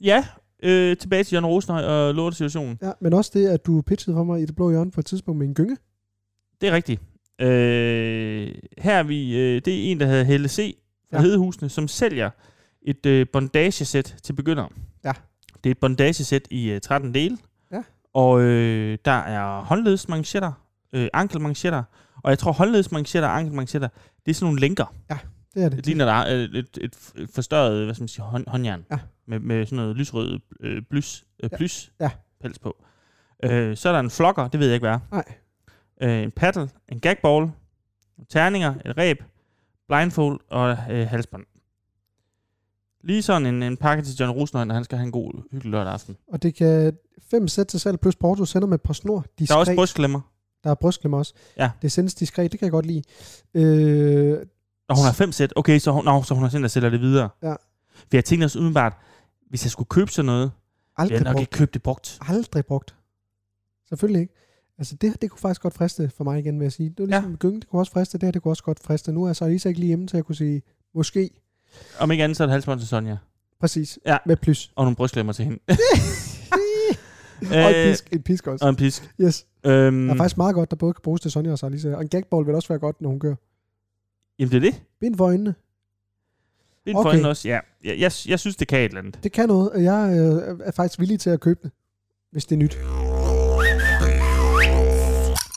S2: ja, øh, tilbage til Jørgen Rosenhøj og lortesituationen.
S1: Ja, men også det, at du pitchede for mig i det blå hjørne på et tidspunkt med en gynge.
S2: Det er rigtigt. Øh, her er vi... Øh, det er en, der hedder Helle C. fra
S1: Ja.
S2: ja. Hedehusene, som sælger et øh, bondagesæt til begyndere.
S1: Ja.
S2: Det er et bondagesæt i øh, 13 dele.
S1: Ja.
S2: Og øh, der er håndledsmanchetter, øh, ankelmanchetter, og jeg tror håndledsmanchetter og ankelmanchetter, det er sådan nogle lænker.
S1: Det er det.
S2: Det ligner der er et, et, et et forstørret hvad skal man sige, hånd, håndjern
S1: Ja.
S2: med, med sådan noget lysrød øh, blys, øh,
S1: Ja.
S2: plys
S1: Ja.
S2: pels på. Øh, så er der en flokker, det ved jeg ikke hvad er. Øh, en paddle, en gagball, nogle terninger, et ræb, blindfold og øh, halsbånd. Lige sådan en, en pakke til John Rosenhøj, når han skal have en god, hyggelig lørdag aften.
S1: Og det kan fem sæt til salg, plus Porto sender med et par snor. Diskret.
S2: Der er også brystklemmer,
S1: Der er brystklemmer også.
S2: Ja.
S1: Det sendes diskret, det kan jeg godt lide. Øh,
S2: og hun har fem sæt. Okay, så hun, nå, så hun har sendt og sælger det videre.
S1: Ja.
S2: For jeg tænkte også umiddelbart, hvis jeg skulle købe sådan noget, ville
S1: aldrig,
S2: jeg nok
S1: brugt.
S2: ikke købe det brugt.
S1: aldrig brugt. Selvfølgelig ikke. Altså det her, det kunne faktisk godt friste for mig igen, vil jeg sige. Det var ligesom ja. gynge, det kunne også friste. Det her, det kunne også godt friste. Nu er jeg så Isak ikke lige hjemme til at kunne sige, måske,
S2: Om ikke andet, så er det halsbånd til Sonja.
S1: præcis,
S2: Ja.
S1: med plus.
S2: Og nogle brystklemmer til hende.
S1: og en
S2: Øh,
S1: pisk, en pisk også.
S2: og en pisk.
S1: Yes.
S2: Øhm,
S1: Der er faktisk meget godt, der både kan bruges til Sonja og Sarlisa. Og en gagball vil også være godt, når hun kører.
S2: Jamen, det er det.
S1: Bind for øjnene.
S2: Det er
S1: Okay.
S2: okay. også. Ja, jeg, jeg, jeg synes, det kan et eller andet.
S1: Det kan noget, og jeg øh, er faktisk villig til at købe det, hvis det er nyt.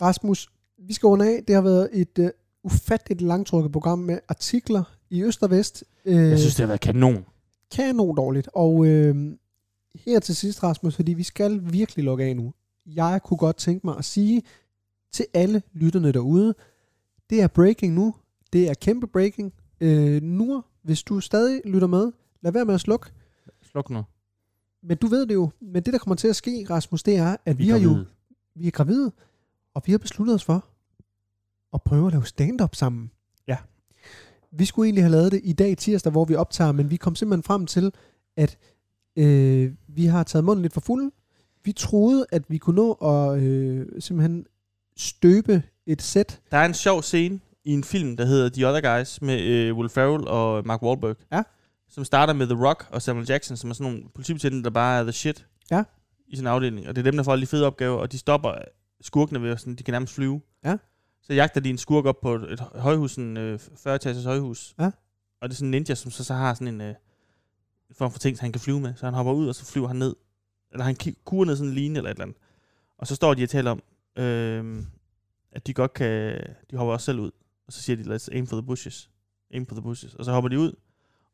S1: Rasmus, vi skal runde af. Det har været et øh, ufatteligt langtrukket program med artikler i Øst og Vest. Øh,
S2: Jeg synes, det har været kanon.
S1: kanon dårligt. Og øh, her til sidst, Rasmus, fordi vi skal virkelig lukke af nu. Jeg kunne godt tænke mig at sige til alle lytterne derude, det er breaking nu. Det er kæmpe breaking. Øh, nu, hvis du stadig lytter med, lad være med at slukke.
S2: Sluk nu.
S1: Men du ved det jo. Men det, der kommer til at ske, Rasmus, det er, at vi, vi
S2: er
S1: har jo
S2: gravide.
S1: vi er gravide, og vi har besluttet os for at prøve at lave stand-up sammen.
S2: Ja.
S1: Vi skulle egentlig have lavet det i dag tirsdag, hvor vi optager, men vi kom simpelthen frem til, at øh, vi har taget munden lidt for fuld. Vi troede, at vi kunne nå at øh, simpelthen støbe et sæt.
S2: Der er en sjov scene i en film, der hedder The Other Guys med øh, Will Ferrell og Mark Wahlberg.
S1: Ja.
S2: Som starter med The Rock og Samuel Jackson, som er sådan nogle politibetjente, der bare er the shit.
S1: Ja.
S2: I sin afdeling. Og det er dem, der får alle de fede opgaver, og de stopper skurkene ved, at sådan, de kan nærmest flyve.
S1: Ja.
S2: Så jagter de en skurk op på et, et højhus, en øh, 40-etagers højhus.
S1: Ja.
S2: Og det er sådan en ninja, som så, så har sådan en øh, form for ting, så han kan flyve med. Så han hopper ud, og så flyver han ned. Eller han ki- kurer ned sådan en line eller et eller andet. Og så står de og taler om, øh, at de godt kan... De hopper også selv ud. Og så siger de, let's aim for the bushes. Aim for the bushes. Og så hopper de ud,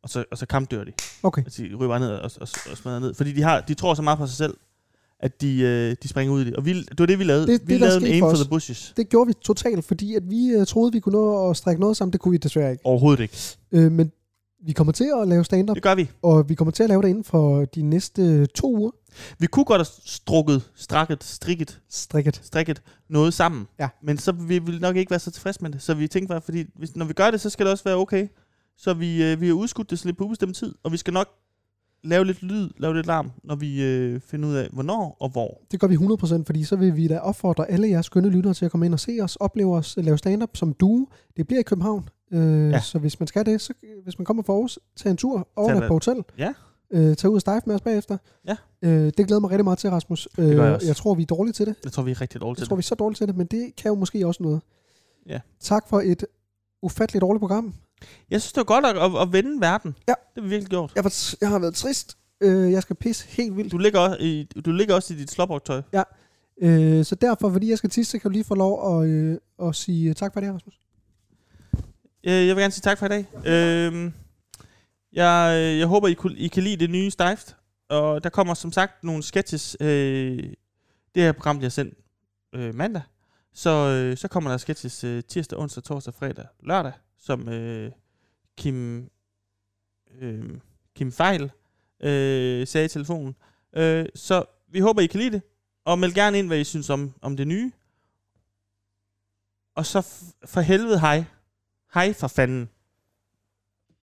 S2: og så, og så kampdør de.
S1: Okay.
S2: Altså, de ryger bare ned og, og, og smadrer ned. Fordi de, har, de tror så meget på sig selv, at de, øh, de springer ud i det. Og vi, det var det, vi lavede.
S1: Det-
S2: vi
S1: det, der
S2: lavede en
S1: skete
S2: aim
S1: for
S2: for
S1: os.
S2: the bushes.
S1: Det gjorde vi totalt, fordi at vi øh, troede, vi kunne nå at strække noget sammen. Det kunne vi desværre ikke.
S2: Overhovedet ikke.
S1: Øh, men vi kommer til at lave stand-up,
S2: Det gør vi.
S1: og vi kommer til at lave det inden for de næste to uger.
S2: Vi kunne godt have strukket, strakket, strikket,
S1: Strikket.
S2: strikket noget sammen.
S1: Ja.
S2: Men så vi ville nok ikke være så tilfredse med det. Så vi tænkte bare, fordi hvis, når vi gør det, så skal det også være okay. Så vi, øh, vi har udskudt det sådan lidt på ubestemt tid. Og vi skal nok lave lidt lyd, lave lidt larm, når vi øh, finder ud af, hvornår og hvor.
S1: Det gør vi 100%, fordi så vil vi da opfordre alle jeres skønne lyttere til at komme ind og se os, opleve os, lave stand-up som du. Det bliver i København, øh, ja.
S2: Ja.
S1: så hvis man skal det, så hvis man kommer fra Aarhus, tag en tur over
S2: Tag
S1: der
S2: en-
S1: på hotel.
S2: Ja.
S1: Øh, tag ud og stejfe med os bagefter.
S2: Ja.
S1: Øh, det glæder mig rigtig meget til, Rasmus. Øh,
S2: gør jeg også.
S1: jeg tror, vi er dårlige til det.
S2: Jeg tror, vi er rigtig dårlige
S1: Jeg
S2: til
S1: tror, vi er så dårlige til det, men det kan jo måske også noget.
S2: Ja.
S1: Tak for et ufatteligt dårligt program.
S2: Jeg synes, det var godt at, at, at vende verden.
S1: Ja.
S2: Det har vi virkelig gjort.
S1: Jeg, var tr- jeg har været trist. Øh, jeg skal pisse helt vildt.
S2: Du ligger også i, du ligger også i dit slåbrugtøj.
S1: Øh, så derfor, fordi jeg skal tisse, så kan du lige få lov at, øh, at sige tak for det, Rasmus.
S2: Øh, Jeg vil gerne sige tak for i dag. Øhm, jeg, jeg håber, I, kunne, I kan lide det nye Stift. Og der kommer som sagt nogle sketches. Øh, det her program bliver sendt øh, mandag. Så, øh, så kommer der sketches øh, tirsdag, onsdag, torsdag, fredag, lørdag, som øh, Kim, øh, Kim Fejl øh, sagde i telefonen. Øh, så vi håber, I kan lide det. Og meld gerne ind, hvad I synes om, om det nye. Og så f- for helvede hej. Hej for fanden.